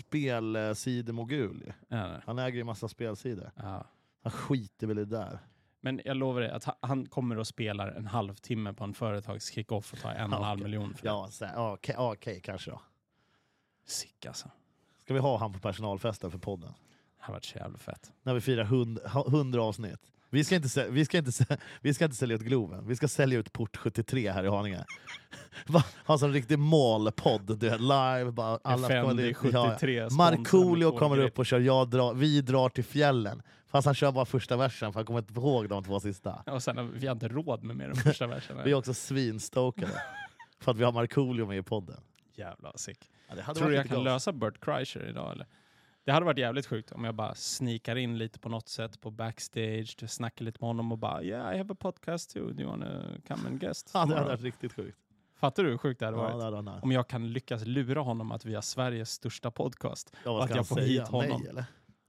B: spelsidemogul. ju.
C: Ja, nej.
B: Han äger ju massa spelsidor.
C: Ja.
B: Han skiter väl i det där.
C: Men jag lovar dig att ha- han kommer och spelar en halvtimme på en företags kick-off och tar en och en
B: Ja,
C: halv
B: okej.
C: miljon för det.
B: Ja, så här, ja, okej, ja, okej, kanske då.
C: Sick alltså.
B: Ska vi ha han på personalfesten för podden?
C: Det här varit så jävla fett.
B: när vi firar 100, 100 avsnitt. Vi ska, inte, sä- vi, ska inte, sä- vi ska inte sälja ut Globen, vi ska sälja ut Port 73 här i Haninge. Va? Ha som en riktig målpodd, du vet, live. Bara, alla kommer
C: Fendi
B: dit. Ja, ja.
C: 73.
B: Markoolio
C: sponsrar
B: kommer
C: med
B: upp och kör jag drar, Vi drar till fjällen. Fast han kör bara första versen för han kommer inte ihåg de två sista.
C: Och sen, har vi vi har inte råd med mer än första versen.
B: Vi är också svinstokade för att vi har Markoolio med i podden.
C: Jävla sick.
B: Ja, det hade
C: Tror du
B: varit
C: jag
B: lite
C: kan
B: gott.
C: lösa Bert Kreischer idag eller? Det hade varit jävligt sjukt om jag bara sneakar in lite på något sätt på backstage, snackar lite med honom och bara yeah I have a podcast too, do you wanna come and guest?
B: Ja, det hade
C: tomorrow?"
B: varit riktigt sjukt.
C: Fattar du hur sjukt det
B: Ja,
C: hade
B: det
C: varit?
B: hade varit nice.
C: Om jag kan lyckas lura honom att vi har Sveriges största podcast.
B: Ja, vad
C: att
B: ska
C: jag
B: han
C: får
B: säga?
C: hit honom.
B: Nej, eller?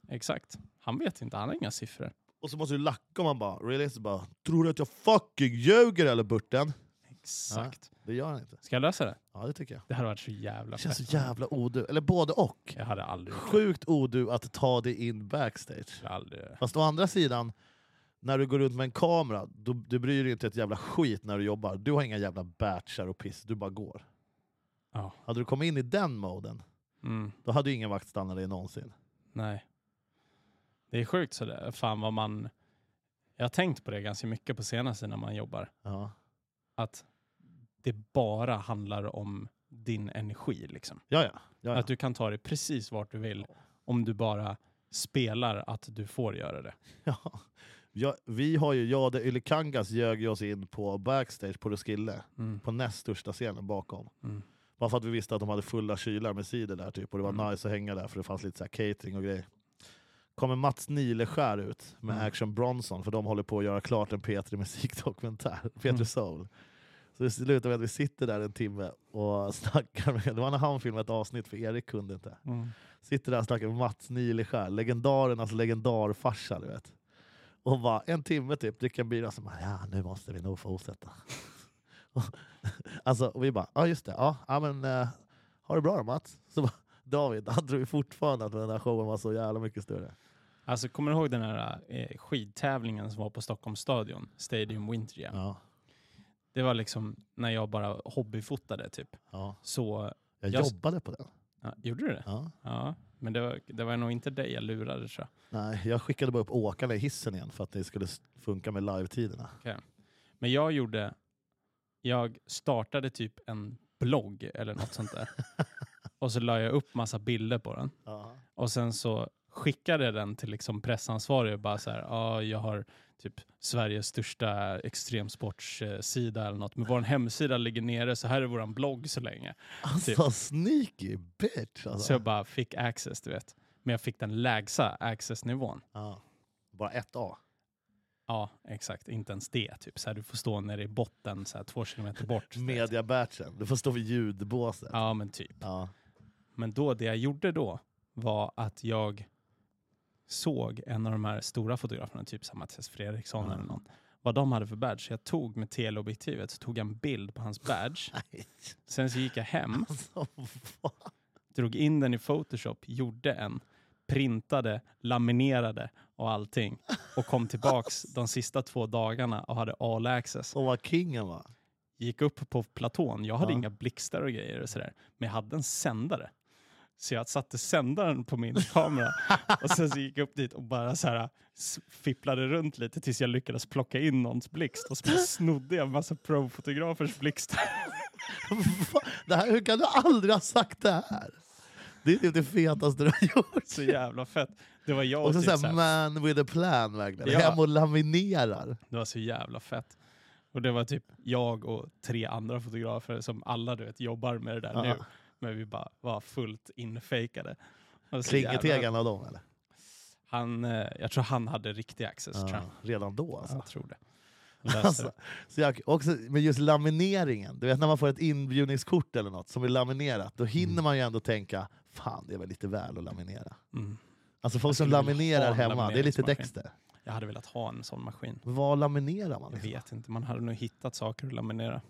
C: Exakt. Han vet inte, han har inga siffror.
B: Och så måste du lacka om man bara really? Så bara Tror du att jag fucking ljuger eller Burten?
C: Exakt.
B: Det gör han inte.
C: Ska jag lösa det?
B: Ja det tycker jag.
C: Det hade varit så jävla
B: Det känns så
C: fett.
B: jävla odu. Eller både och.
C: Jag hade aldrig gjort det.
B: Sjukt odu att ta dig in backstage.
C: Jag hade aldrig-
B: Fast å andra sidan, när du går runt med en kamera, du, du bryr dig inte ett jävla skit när du jobbar. Du har inga jävla batchar och piss, du bara går.
C: Ja.
B: Hade du kommit in i den moden,
C: Mm.
B: då hade ju ingen vakt stannat dig någonsin.
C: Nej. Det är sjukt sådär. Fan vad man... Jag har tänkt på det ganska mycket på senaste när man jobbar.
B: Ja,
C: Att det bara handlar om din energi. Liksom.
B: ja. ja, ja, ja.
C: Att du kan ta dig precis vart du vill om du bara spelar att du får göra det.
B: ja. Jag, vi har ju, jag och det Ylikangas ljög ju oss in på backstage på Roskilde.
C: Mm.
B: på näst största scenen bakom.
C: Mm.
B: Bara för att vi visste att de hade fulla kylar med cider där typ. Och det var nice att hänga där för det fanns lite så här catering och grejer. Kommer Mats Nileskär ut med
C: Mm.
B: Action Bronson för de håller på att göra klart en P3 musikdokumentär. P3
C: Mm.
B: Soul. Så det slutar med att vi sitter där en timme och snackar med... Det var när han filmade ett avsnitt för Erik kunde inte.
C: Mm.
B: Sitter där och snackar med Mats Nileskär, legendarernas legendarfarsa du vet. Och bara en timme typ, dricker en bira och så bara, ja nu måste vi nog fortsätta. Och- alltså, och vi bara, ja just det, ja, ja men eh, ha det bra då Mats. Så bara, David, han tror ju fortfarande att den här showen var så jävla mycket större.
C: Alltså, kommer du ihåg den här eh, skidtävlingen som var på Stockholms stadion? Stadium Winter Jam.
B: Ja,
C: Det var liksom när jag bara hobbyfotade typ.
B: ja.
C: Så,
B: Jag
C: Jag s-
B: jobbade på den.
C: ja, gjorde du det?
B: Ja.
C: Ja, men det var, det var nog inte dig jag lurade tror jag.
B: Nej, jag skickade bara upp åkarna i hissen igen för att det skulle s- funka med live-tiderna.
C: Men jag gjorde, jag startade typ en blogg eller något sånt där. Och så la jag upp massa bilder på den.
B: Ja.
C: Och sen så skickade jag den till liksom pressansvarig och bara så här, ja jag har typ Sveriges största extremsportsida eller något, men vår hemsida ligger nere så här är våran blogg så länge.
B: Alltså sneaky bitch
C: Så
B: alltså.
C: jag bara fick access, du vet. Men jag fick den lägsta accessnivån.
B: Ja. Bara ett A.
C: Ja, exakt. Inte ens det. Typ. Så här, du får stå nere i botten, så här, två kilometer bort. du vet.
B: Mediabatchen, du får stå vid ljudbåset.
C: Ja, men typ.
B: Ja.
C: Men då, det jag gjorde då var att jag såg en av de här stora fotograferna, typ som Mattias Fredriksson
B: Ja.
C: eller någon, vad de hade för badge. Så jag tog med teleobjektivet, så tog jag en bild på hans badge.
B: Nej,
C: Sen så gick jag hem,
B: alltså vad?
C: drog in den i Photoshop, gjorde en, printade, laminerade och allting. Och kom tillbaks de sista två dagarna och hade all access.
B: Och vad kingen var.
C: gick upp på platån. Jag hade
B: Ja.
C: inga blixtar och grejer och sådär. Men jag hade en sändare. Så jag satte sändaren på min kamera och sen så gick jag upp dit och bara så här s- fipplade runt lite tills jag lyckades plocka in någons blixt och så bara snodde jag en massa profotografers blixtar.
B: Va? det här, hur kan du aldrig ha sagt det här? Det är typ det fetaste du har gjort.
C: Så jävla fett. Det var jag och,
B: Och så
C: typ så
B: såhär
C: här,
B: man with a plan verkligen.
C: Ja.
B: Hem och laminerar.
C: Det var så jävla fett. Och det var typ jag och tre andra fotografer som alla du vet jobbar med det där
B: Ja.
C: nu. Men vi bara var fullt infejkade. Det var så jävla-
B: Klingeteg av dem eller?
C: Han, eh, jag tror han hade riktig access. Tror jag.
B: Ja, redan då alltså.
C: jag tror det. Han löste
B: Alltså, så jag, också, men just lamineringen, du vet när man får ett inbjudningskort eller något som är laminerat, då hinner man ju ändå tänka fan det är väl lite väl att laminera.
C: det. Mm.
B: Alltså folk som
C: skulle vilja ha
B: laminerar
C: en
B: hemma, det är lite
C: lamineringsmaskin.
B: Dexter.
C: Jag hade velat ha en sån maskin.
B: Vad laminerar
C: Jag
B: man? Liksom?
C: vet inte, man hade nog hittat saker att laminera.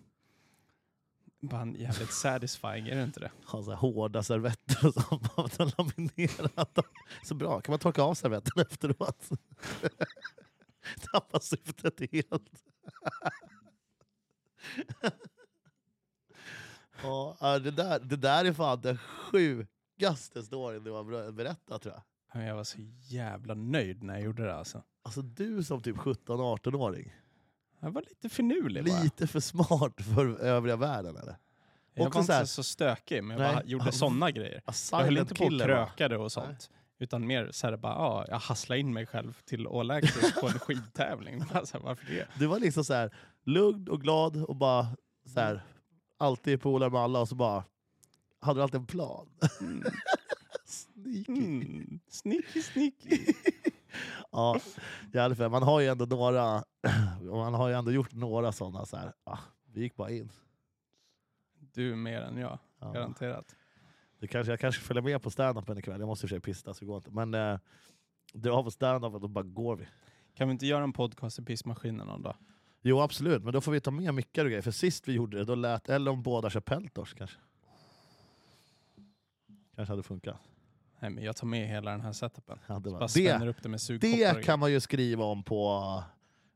C: Bara en jävligt satisfying, är det inte det?
B: ha så här Alltså, hårda servetter och sånt. bara att laminera dem. Så bra, kan man torka av servetten efteråt? Tappar syftet helt. ja, ja, det, där, det där är fan den sjukaste storyn du har ber- berättat tror jag.
C: Men Jag var så jävla nöjd när jag gjorde det alltså.
B: Alltså du som typ 17-18-åring,
C: Jag var lite finurlig bara.
B: lite för smart för övriga världen eller?
C: jag
B: också
C: var
B: så här-
C: inte så, så stökig, men jag
B: Nej.
C: bara gjorde såna grejer.
B: A
C: Jag höll
B: silent
C: inte på och
B: killer, va?
C: krökade och sånt. Utan mer så här bara, ja, jag hasslade in mig själv till all access på en skidtävling. Bara så här, varför det?
B: Du var liksom så här lugn och glad och bara så här, alltid polare med alla och så bara hade du alltid en plan.
C: Mm.
B: Sneaky.
C: Mm. Sneaky, sneaky.
B: Ja, i alla fall, man har ju ändå några, man har ju ändå gjort några sådana så här, ah, vi gick bara in.
C: Du mer än jag,
B: Ja.
C: garanterat.
B: Det kanske, jag kanske följer med på standupen ikväll, jag måste i och för sig pista så det går inte. Men eh, dra på standupen och bara går vi.
C: Kan vi inte göra en podcast i pissmaskinen någon dag?
B: Jo absolut, men då får vi ta med mickar och grejer. För sist vi gjorde det, då lät, eller om båda kör Peltors kanske. Kanske hade funkat.
C: Nej, men jag tar med hela den här setupen.
B: Hade
C: Bara
B: varit- det
C: spänner upp det med sugkoppar.
B: Det
C: och
B: kan man ju skriva om på,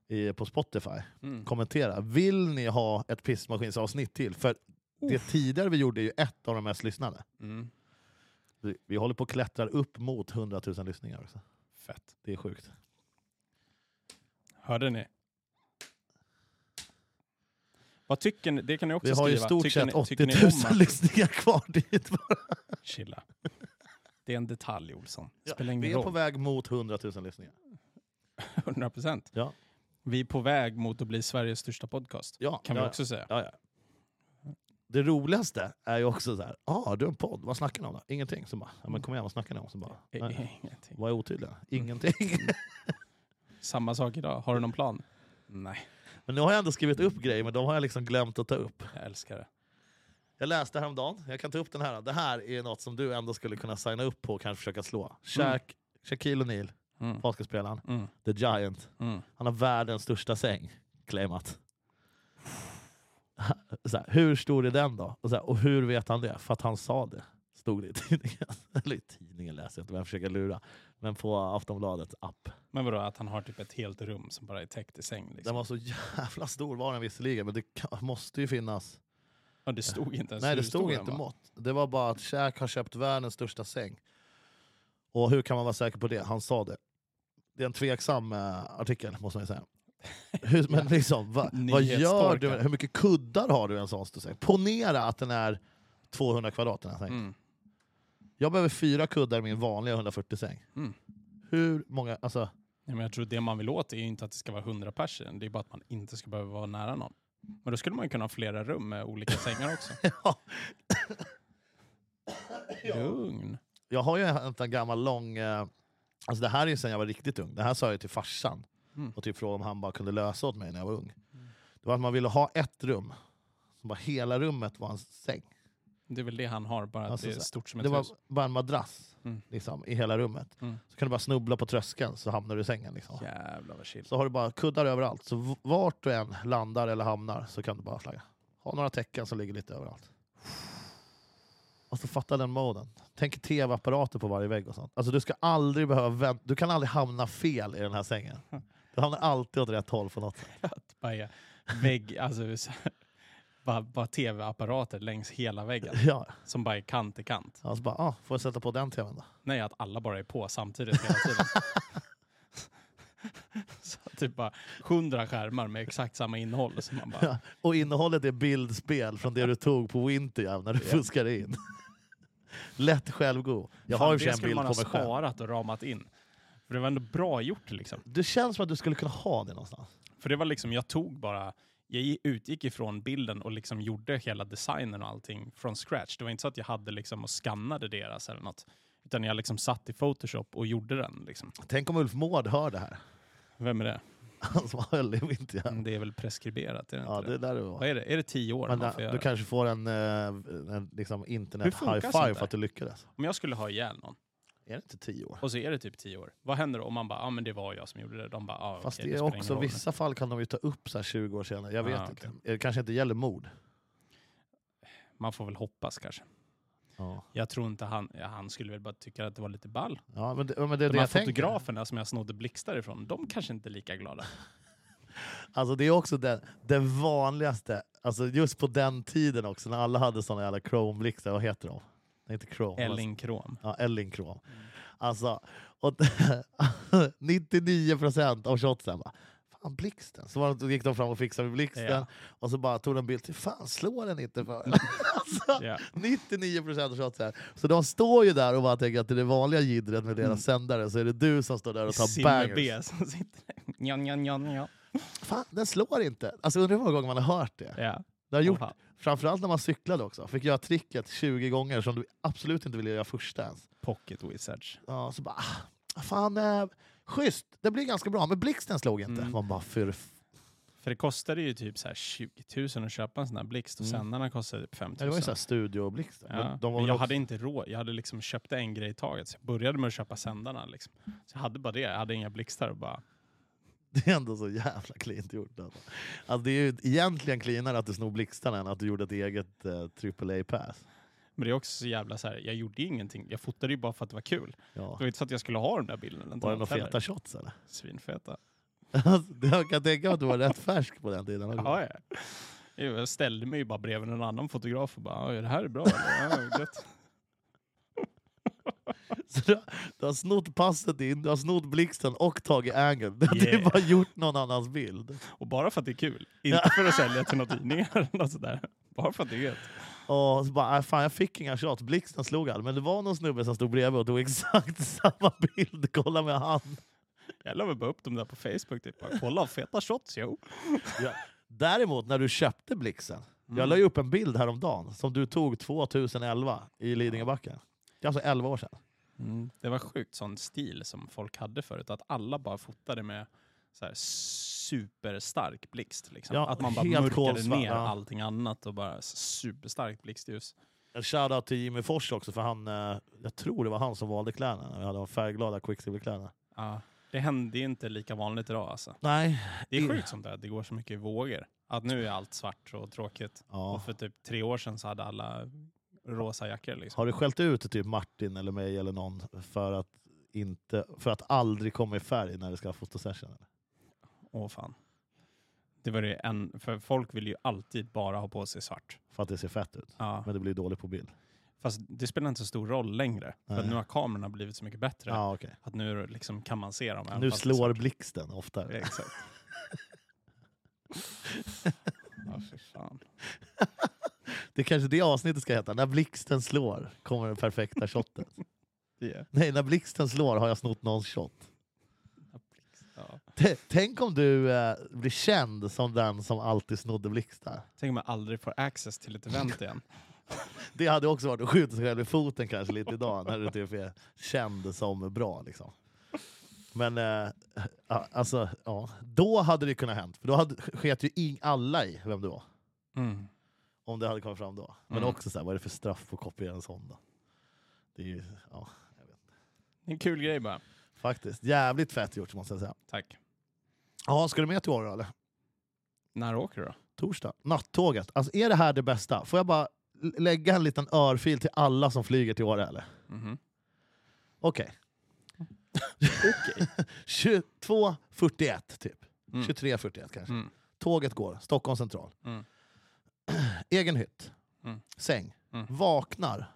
B: i, på Spotify.
C: grejer. Mm.
B: Kommentera. Vill ni ha ett pissmaskinsavsnitt till? För det tidigare vi gjorde är ju ett av de mest lyssnade.
C: Mm.
B: Vi, vi håller på att klättra upp mot 100 000 lyssningar också.
C: Fett.
B: Det är sjukt.
C: Hörde ni? Vad tycker ni? Det kan ni också
B: Vi har ju i
C: skriva.
B: stort
C: tycker
B: sett
C: ni,
B: 80
C: tycker
B: 000
C: ni om att-
B: lyssningar kvar dit.
C: Chilla. Det är en detalj, Olsson. Det
B: Ja,
C: spelar
B: vi
C: ingen
B: är på
C: roll.
B: väg mot 100 000 lyssningar.
C: 100 procent.
B: Ja.
C: Vi är på väg mot att bli Sveriges största podcast.
B: Ja,
C: Kan
B: ja,
C: vi också säga.
B: ja, ja. det roligaste är ju också så här, ah, du har en podd, vad snackar ni om då? Ingenting. Så bara, ja, men kom igen, vad snackar ni om? Så bara,
C: Eh,
B: nej.
C: Ingenting.
B: Vad är otydliga?
C: Mm.
B: Ingenting.
C: Samma sak idag. Har du någon plan? Nej,
B: Men nu har jag ändå skrivit upp grejer, men de har jag liksom glömt att ta upp.
C: jag älskar det.
B: Jag läste häromdagen, jag kan ta upp den här. Det här är något som du ändå skulle kunna signa upp på och kanske försöka slå. Shaq, Shaquille O'Neal,
C: Mm.
B: basketspelaren,
C: Mm.
B: the giant.
C: Mm.
B: Han har världens största säng, claimat. Så här, hur stor är den då? Och, så här, och hur vet han det? För att han sa det. Stod det i tidningen. Eller i tidningen läser jag inte, men jag försöker lura. Men på Aftonbladets app.
C: Men vadå, att han har typ ett helt rum som bara är täckt i säng? Liksom.
B: Den var så jävla stor var den visserligen, men det kan, måste ju finnas.
C: Ja, det stod inte ens
B: Nej, det
C: Alltså, hur stor
B: stod
C: den
B: inte
C: var.
B: mått. Det var bara att Shaq har köpt världens största säng. Och hur kan man vara säker på det? Han sa det. Det är en tveksam eh, artikel, måste man ju säga. Hur, men liksom, va, vad gör du?
C: Nyhetstorka.
B: Hur mycket kuddar har du i en sån stor säng? Ponera att den är 200 kvadrat. Den här sängen.
C: Mm.
B: Jag behöver fyra kuddar i min vanliga 140-säng.
C: Mm.
B: Hur många... Alltså,
C: Nej, men jag tror det man vill åt är ju inte att det ska vara 100 pers i den. Det är bara att man inte ska behöva vara nära någon. Men då skulle man ju kunna ha flera rum med olika sängar också. Lugn.
B: jag har ju en, en gammal lång... Eh, alltså det här är ju sen jag var riktigt ung. Det här sa jag ju till farsan.
C: Mm.
B: Och typ frågade om han bara kunde lösa åt mig när jag var ung. Det var att man ville ha ett rum. Som bara hela rummet var en säng.
C: Det är väl det han har, bara att
B: Alltså,
C: det är
B: så-
C: stort som ett
B: Det var
C: hus.
B: bara en madrass
C: Mm.
B: liksom, i hela rummet.
C: Mm.
B: Så kan du bara snubbla på tröskeln så hamnar du i sängen. Liksom.
C: Jävlar vad chill.
B: Så har du bara kuddar överallt. Så v- vart du än landar eller hamnar så kan du bara flagga. Ha några tecken som ligger lite överallt. Och så fatta den moden. Tänk tv-apparater på varje vägg och sånt. Alltså du ska aldrig behöva vänta. Du kan aldrig hamna fel i den här sängen. Du hamnar alltid åt rätt håll på något sätt.
C: Att bara är vägg, alltså så här, bara, bara tv-apparater längs hela väggen
B: Ja.
C: som bara är kant i kant.
B: Alltså bara, ah, får jag sätta på den tvn då?
C: Nej, att alla bara är på samtidigt hela tiden. så att typ bara 100 skärmar med exakt samma innehåll. Så man bara,
B: Och innehållet är bildspel från det du tog på Winterjam när du fuskade in. Lätt självgod. Jag har
C: fan,
B: ju för sig
C: det
B: en bild
C: skulle man
B: på mig
C: ha
B: själv.
C: sparat och ramat in. För det var ändå bra gjort liksom.
B: Det känns som att du skulle kunna ha det någonstans.
C: För det var liksom, jag tog bara, jag gi- utgick ifrån bilden och liksom gjorde hela designen och allting från scratch. Det var inte så att jag hade liksom och skannade deras eller något. Utan jag liksom satt i Photoshop och gjorde den liksom.
B: Tänk om Ulf Mård hör det här.
C: Vem är det?
B: Han som höll i Winterjam.
C: Det är väl preskriberat, är det inte
B: Ja, det är
C: Mm, det?
B: där det var.
C: Vad är det? Är det tio år
B: Men
C: man
B: där,
C: får
B: du
C: göra?
B: kanske får en, eh, en liksom
C: Hur
B: internet
C: funkar
B: high
C: sånt
B: five
C: där?
B: för att du lyckades.
C: Om jag skulle ha ihjäl någon
B: Är det inte tio år?
C: och så är det typ tio år. Vad händer då? om man bara, ja ah, men det var jag som gjorde det. De bara, ah,
B: Fast
C: okej,
B: det är
C: spelar ingen
B: också,
C: roll nu."
B: vissa fall kan de ju ta upp så här 20 år senare. Jag vet
C: Ah,
B: inte. Det kanske inte gäller mord.
C: Man får väl hoppas kanske.
B: Ja,
C: Jag tror inte han, ja, han skulle väl bara tycka att det var lite ball.
B: ja men, det, ja, men det är
C: De
B: det
C: här
B: jag tänker.
C: fotograferna som jag snodde blixtar ifrån, de kanske inte är lika glada.
B: Alltså det är också den, den vanligaste, alltså just på den tiden också när alla hade såna jävla chrome-blixtar, vad heter de? Nej, inte chrome. vad-
C: Elling Krom.
B: Ja, Elling Krom.
C: Mm.
B: Alltså, och 99% av shotsen bara, fan blixten. Så var de- gick de fram och fixade med blixten
C: Ja. Mm.
B: och så bara tog de en bild, till, fan slår den inte för? alltså,
C: Ja.
B: 99% av shotsen. Så de står ju där och bara tänker att det är det vanliga jiddret med deras sändare så är det du som står där och tar
C: Mm. Simmer
B: bangers.
C: B som sitter där. Njan, njan, njan, njan.
B: Fan, den slår inte. Alltså undrar hur många gånger man har hört det.
C: Ja.
B: Det har jag gjort,
C: Oha.
B: framförallt när man cyklade också. Fick göra tricket 20 gånger som du absolut inte ville göra första ens.
C: Pocket Wizards.
B: Ja, så bara, ah, fan, eh, schysst, det blir ganska bra, men blixten slog inte. Man bara, för f-
C: För det kostade ju typ så här 20 000 att köpa en sån här blixt och sändarna kostade typ 5 000.
B: Mm. det var ju såhär studioblixten.
C: Ja.
B: Men De var
C: Men
B: väl
C: jag
B: också-
C: hade inte råd. Jag hade liksom köpt en grej i taget. Så jag började med att köpa sändarna. Liksom. Så jag hade bara det. Jag hade inga blixtar. Och bara,
B: Det är ändå så jävla klint gjort. Alltså. Alltså, det är ju egentligen cleanare att du snor blixtarna än att du gjorde ett eget eh, AAA-pass.
C: men det är också så jävla så här. Jag gjorde ju ingenting. Jag fotade ju bara för att det var kul.
B: Ja.
C: Det var inte så att jag skulle ha den där bilden. eller
B: Var det några
C: något heller.
B: feta shots eller?
C: Svinfeta.
B: Alltså, jag kan tänka mig att du var rätt färsk på den tiden. också.
C: Ja, ja. Jo, Jag ställde mig ju bara bredvid en annan fotograf och bara, "Ja, det här är bra. eller? Ja, gött."
B: Så du, har- du har snott passet in, du har snott blixten och tagit angeln. Du
C: Yeah.
B: har bara gjort någon annans bild.
C: Och bara för att det är kul. Inte för att sälja till några tidningar eller något sådär. Bara för att det är gött.
B: Och så bara, "Äh, fan jag fick inga shots, blixten slog all. Men det var någon snubbe som stod bredvid och tog exakt samma bild. Kolla med han.
C: Jag la väl bara upp dem där på Facebook. Typ. Bara, Kolla, feta shots, jo.
B: Ja. Däremot när du köpte blixten,
C: Mm.
B: Jag la ju upp en bild häromdagen som du tog 2011 i Lidingöbacken. Det är alltså 11 år sedan.
C: Mm. Det var sjukt sån stil som folk hade förut, att alla bara fotade med så här superstark blixt. Liksom.
B: Ja,
C: att man bara
B: helt
C: mörkade
B: kolsvart,
C: ner
B: ja.
C: allting annat och bara superstarkt blixtljus.
B: En shoutout till Jimmy Fors också, för han, eh, jag tror det var han som valde kläderna. Vi hade de färgglada Quicksilverkläderna.
C: Ja. Det händer ju inte lika vanligt idag alltså.
B: Nej.
C: Det är
B: Det-
C: sjukt som det är. det går så mycket i vågor. Att nu är allt svart och tråkigt.
B: Ja.
C: Och för typ tre år sedan så hade alla rosa jackor liksom.
B: Har du skällt ut typ Martin eller mig eller någon för att, inte, för att aldrig komma i färg när du ska ha fotosession? eller?
C: Åh fan. Det var det en, för folk vill ju alltid bara ha på sig svart.
B: För att det ser fett ut.
C: Ja.
B: Men det blir dåligt på bild.
C: Fast det spelar inte så stor roll längre. För att
B: Nej.
C: nu har kamerorna blivit så mycket bättre.
B: Ja, okej.
C: Att nu liksom kan man se dem. även
B: Nu
C: fast det är
B: slår
C: svart.
B: blixten oftare.
C: Exakt. ja, fy fan.
B: Det är kanske det avsnittet ska heta. När blixten slår kommer den perfekta shoten.
C: Det är...
B: Nej, när blixten slår har jag snott någons shot.
C: ja.
B: T- Tänk om du eh, blir känd som den som alltid snodde blixtar.
C: Tänk om jag aldrig får access till ett event igen.
B: Det hade också varit att skjuta sig själv i foten kanske lite idag när du typ är känd som bra. Liksom. Men eh, ja, alltså, ja. då hade det kunnat hänt. För då hade, sket ju ing- alla i vem du var.
C: Mm.
B: Om det hade kommit fram då. Men
C: Mm.
B: också så här, vad är det för straff på att kopiera en sån då? Det är ju, ja,
C: En kul grej bara.
B: faktiskt jävligt fett gjort måste jag säga.
C: Tack.
B: Ja, ska du med till Åre eller?
C: När åker du då?
B: Torsdag. Nattåget. Alltså är det här det bästa? Får jag bara l- lägga en liten örfil till alla som flyger till Åre eller?
C: Mhm.
B: Okej.
C: Okej.
B: 22.41 typ.
C: Mm.
B: 23.41 kanske.
C: Mm.
B: Tåget går, Stockholm central.
C: Mm.
B: Egen hytt.
C: Mm.
B: Säng.
C: Mm.
B: Vaknar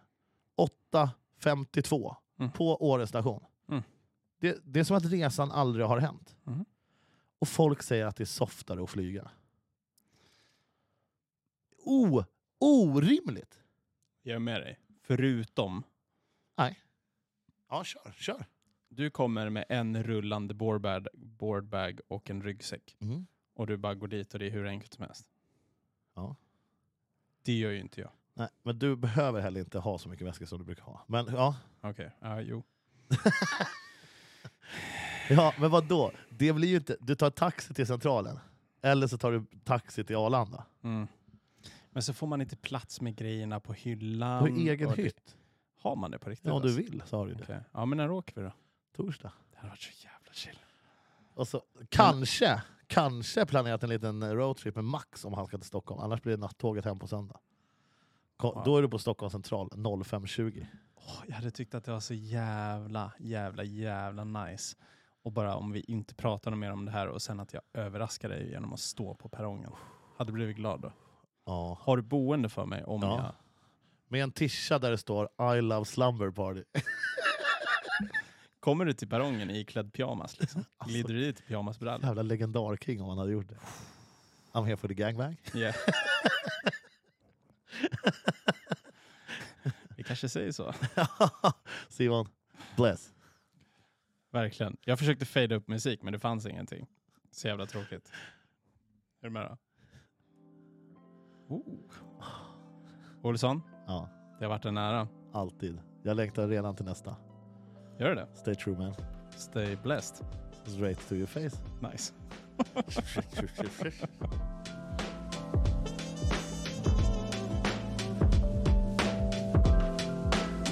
B: 8.52
C: Mm.
B: på Åre station.
C: Mm.
B: Det, det är som att resan aldrig har hänt.
C: Mhm.
B: Och folk säger att det är softare att flyga. O, orimligt!
C: Jag är med dig. Förutom,
B: Ja, kör. kör.
C: du kommer med en rullande boardbag, boardbag och en ryggsäck.
B: Mm.
C: Och du bara går dit och det är hur enkelt som helst.
B: Ja.
C: Det gör ju inte jag.
B: Nej, men du behöver heller inte ha så mycket väska som du brukar ha. Men ja,
C: Okej, ja jo.
B: ja men vad då? Det blir ju inte... Du tar taxi till centralen. Eller så tar du taxi till Arlanda.
C: Mm. Men så får man inte plats med grejerna på
B: Du
C: hyllan.
B: har ju egen
C: och Mm, det-
B: hytt.
C: Har man det på riktigt?
B: Ja, om du
C: alltså?
B: vill så har du det.
C: Okej. Ja, men när åker vi då?
B: Torsdag.
C: Det hade varit så jävla chill.
B: Och så,
C: Mm.
B: kanske, kanske planerat en liten roadtrip med Max om han ska till Stockholm. Annars blir det nattåget hem på söndag. Ko-
C: Ja.
B: Då är du på Stockholm central 05.20.
C: Åh, jag hade tyckt att det var så jävla, jävla, jävla nice. Och bara om vi inte pratade mer om det här och sen att jag överraskar dig genom att stå på perrongen. Hade blivit glad då.
B: Ja.
C: Har du boende för mig om
B: Ja.
C: jag...
B: Med en tisha där det står I love slumber party.
C: Kommer du till perrongen iklädd pyjamas liksom? Glider du dit i pyjamasbrallor?
B: Jävla legendar-king om han hade gjort det. I'm here for the gangbang.
C: Yeah. vi kanske säger så.
B: Simon, bless.
C: Verkligen. Jag försökte fejda upp musik men det fanns ingenting. Så jävla tråkigt. Är du med då? Oh. Olsson,
B: Ja,
C: det har varit en ära.
B: alltid. Jag längtar redan till nästa.
C: Gör det?
B: Stay true man.
C: Stay blessed.
B: Straight to your face.
C: Nice.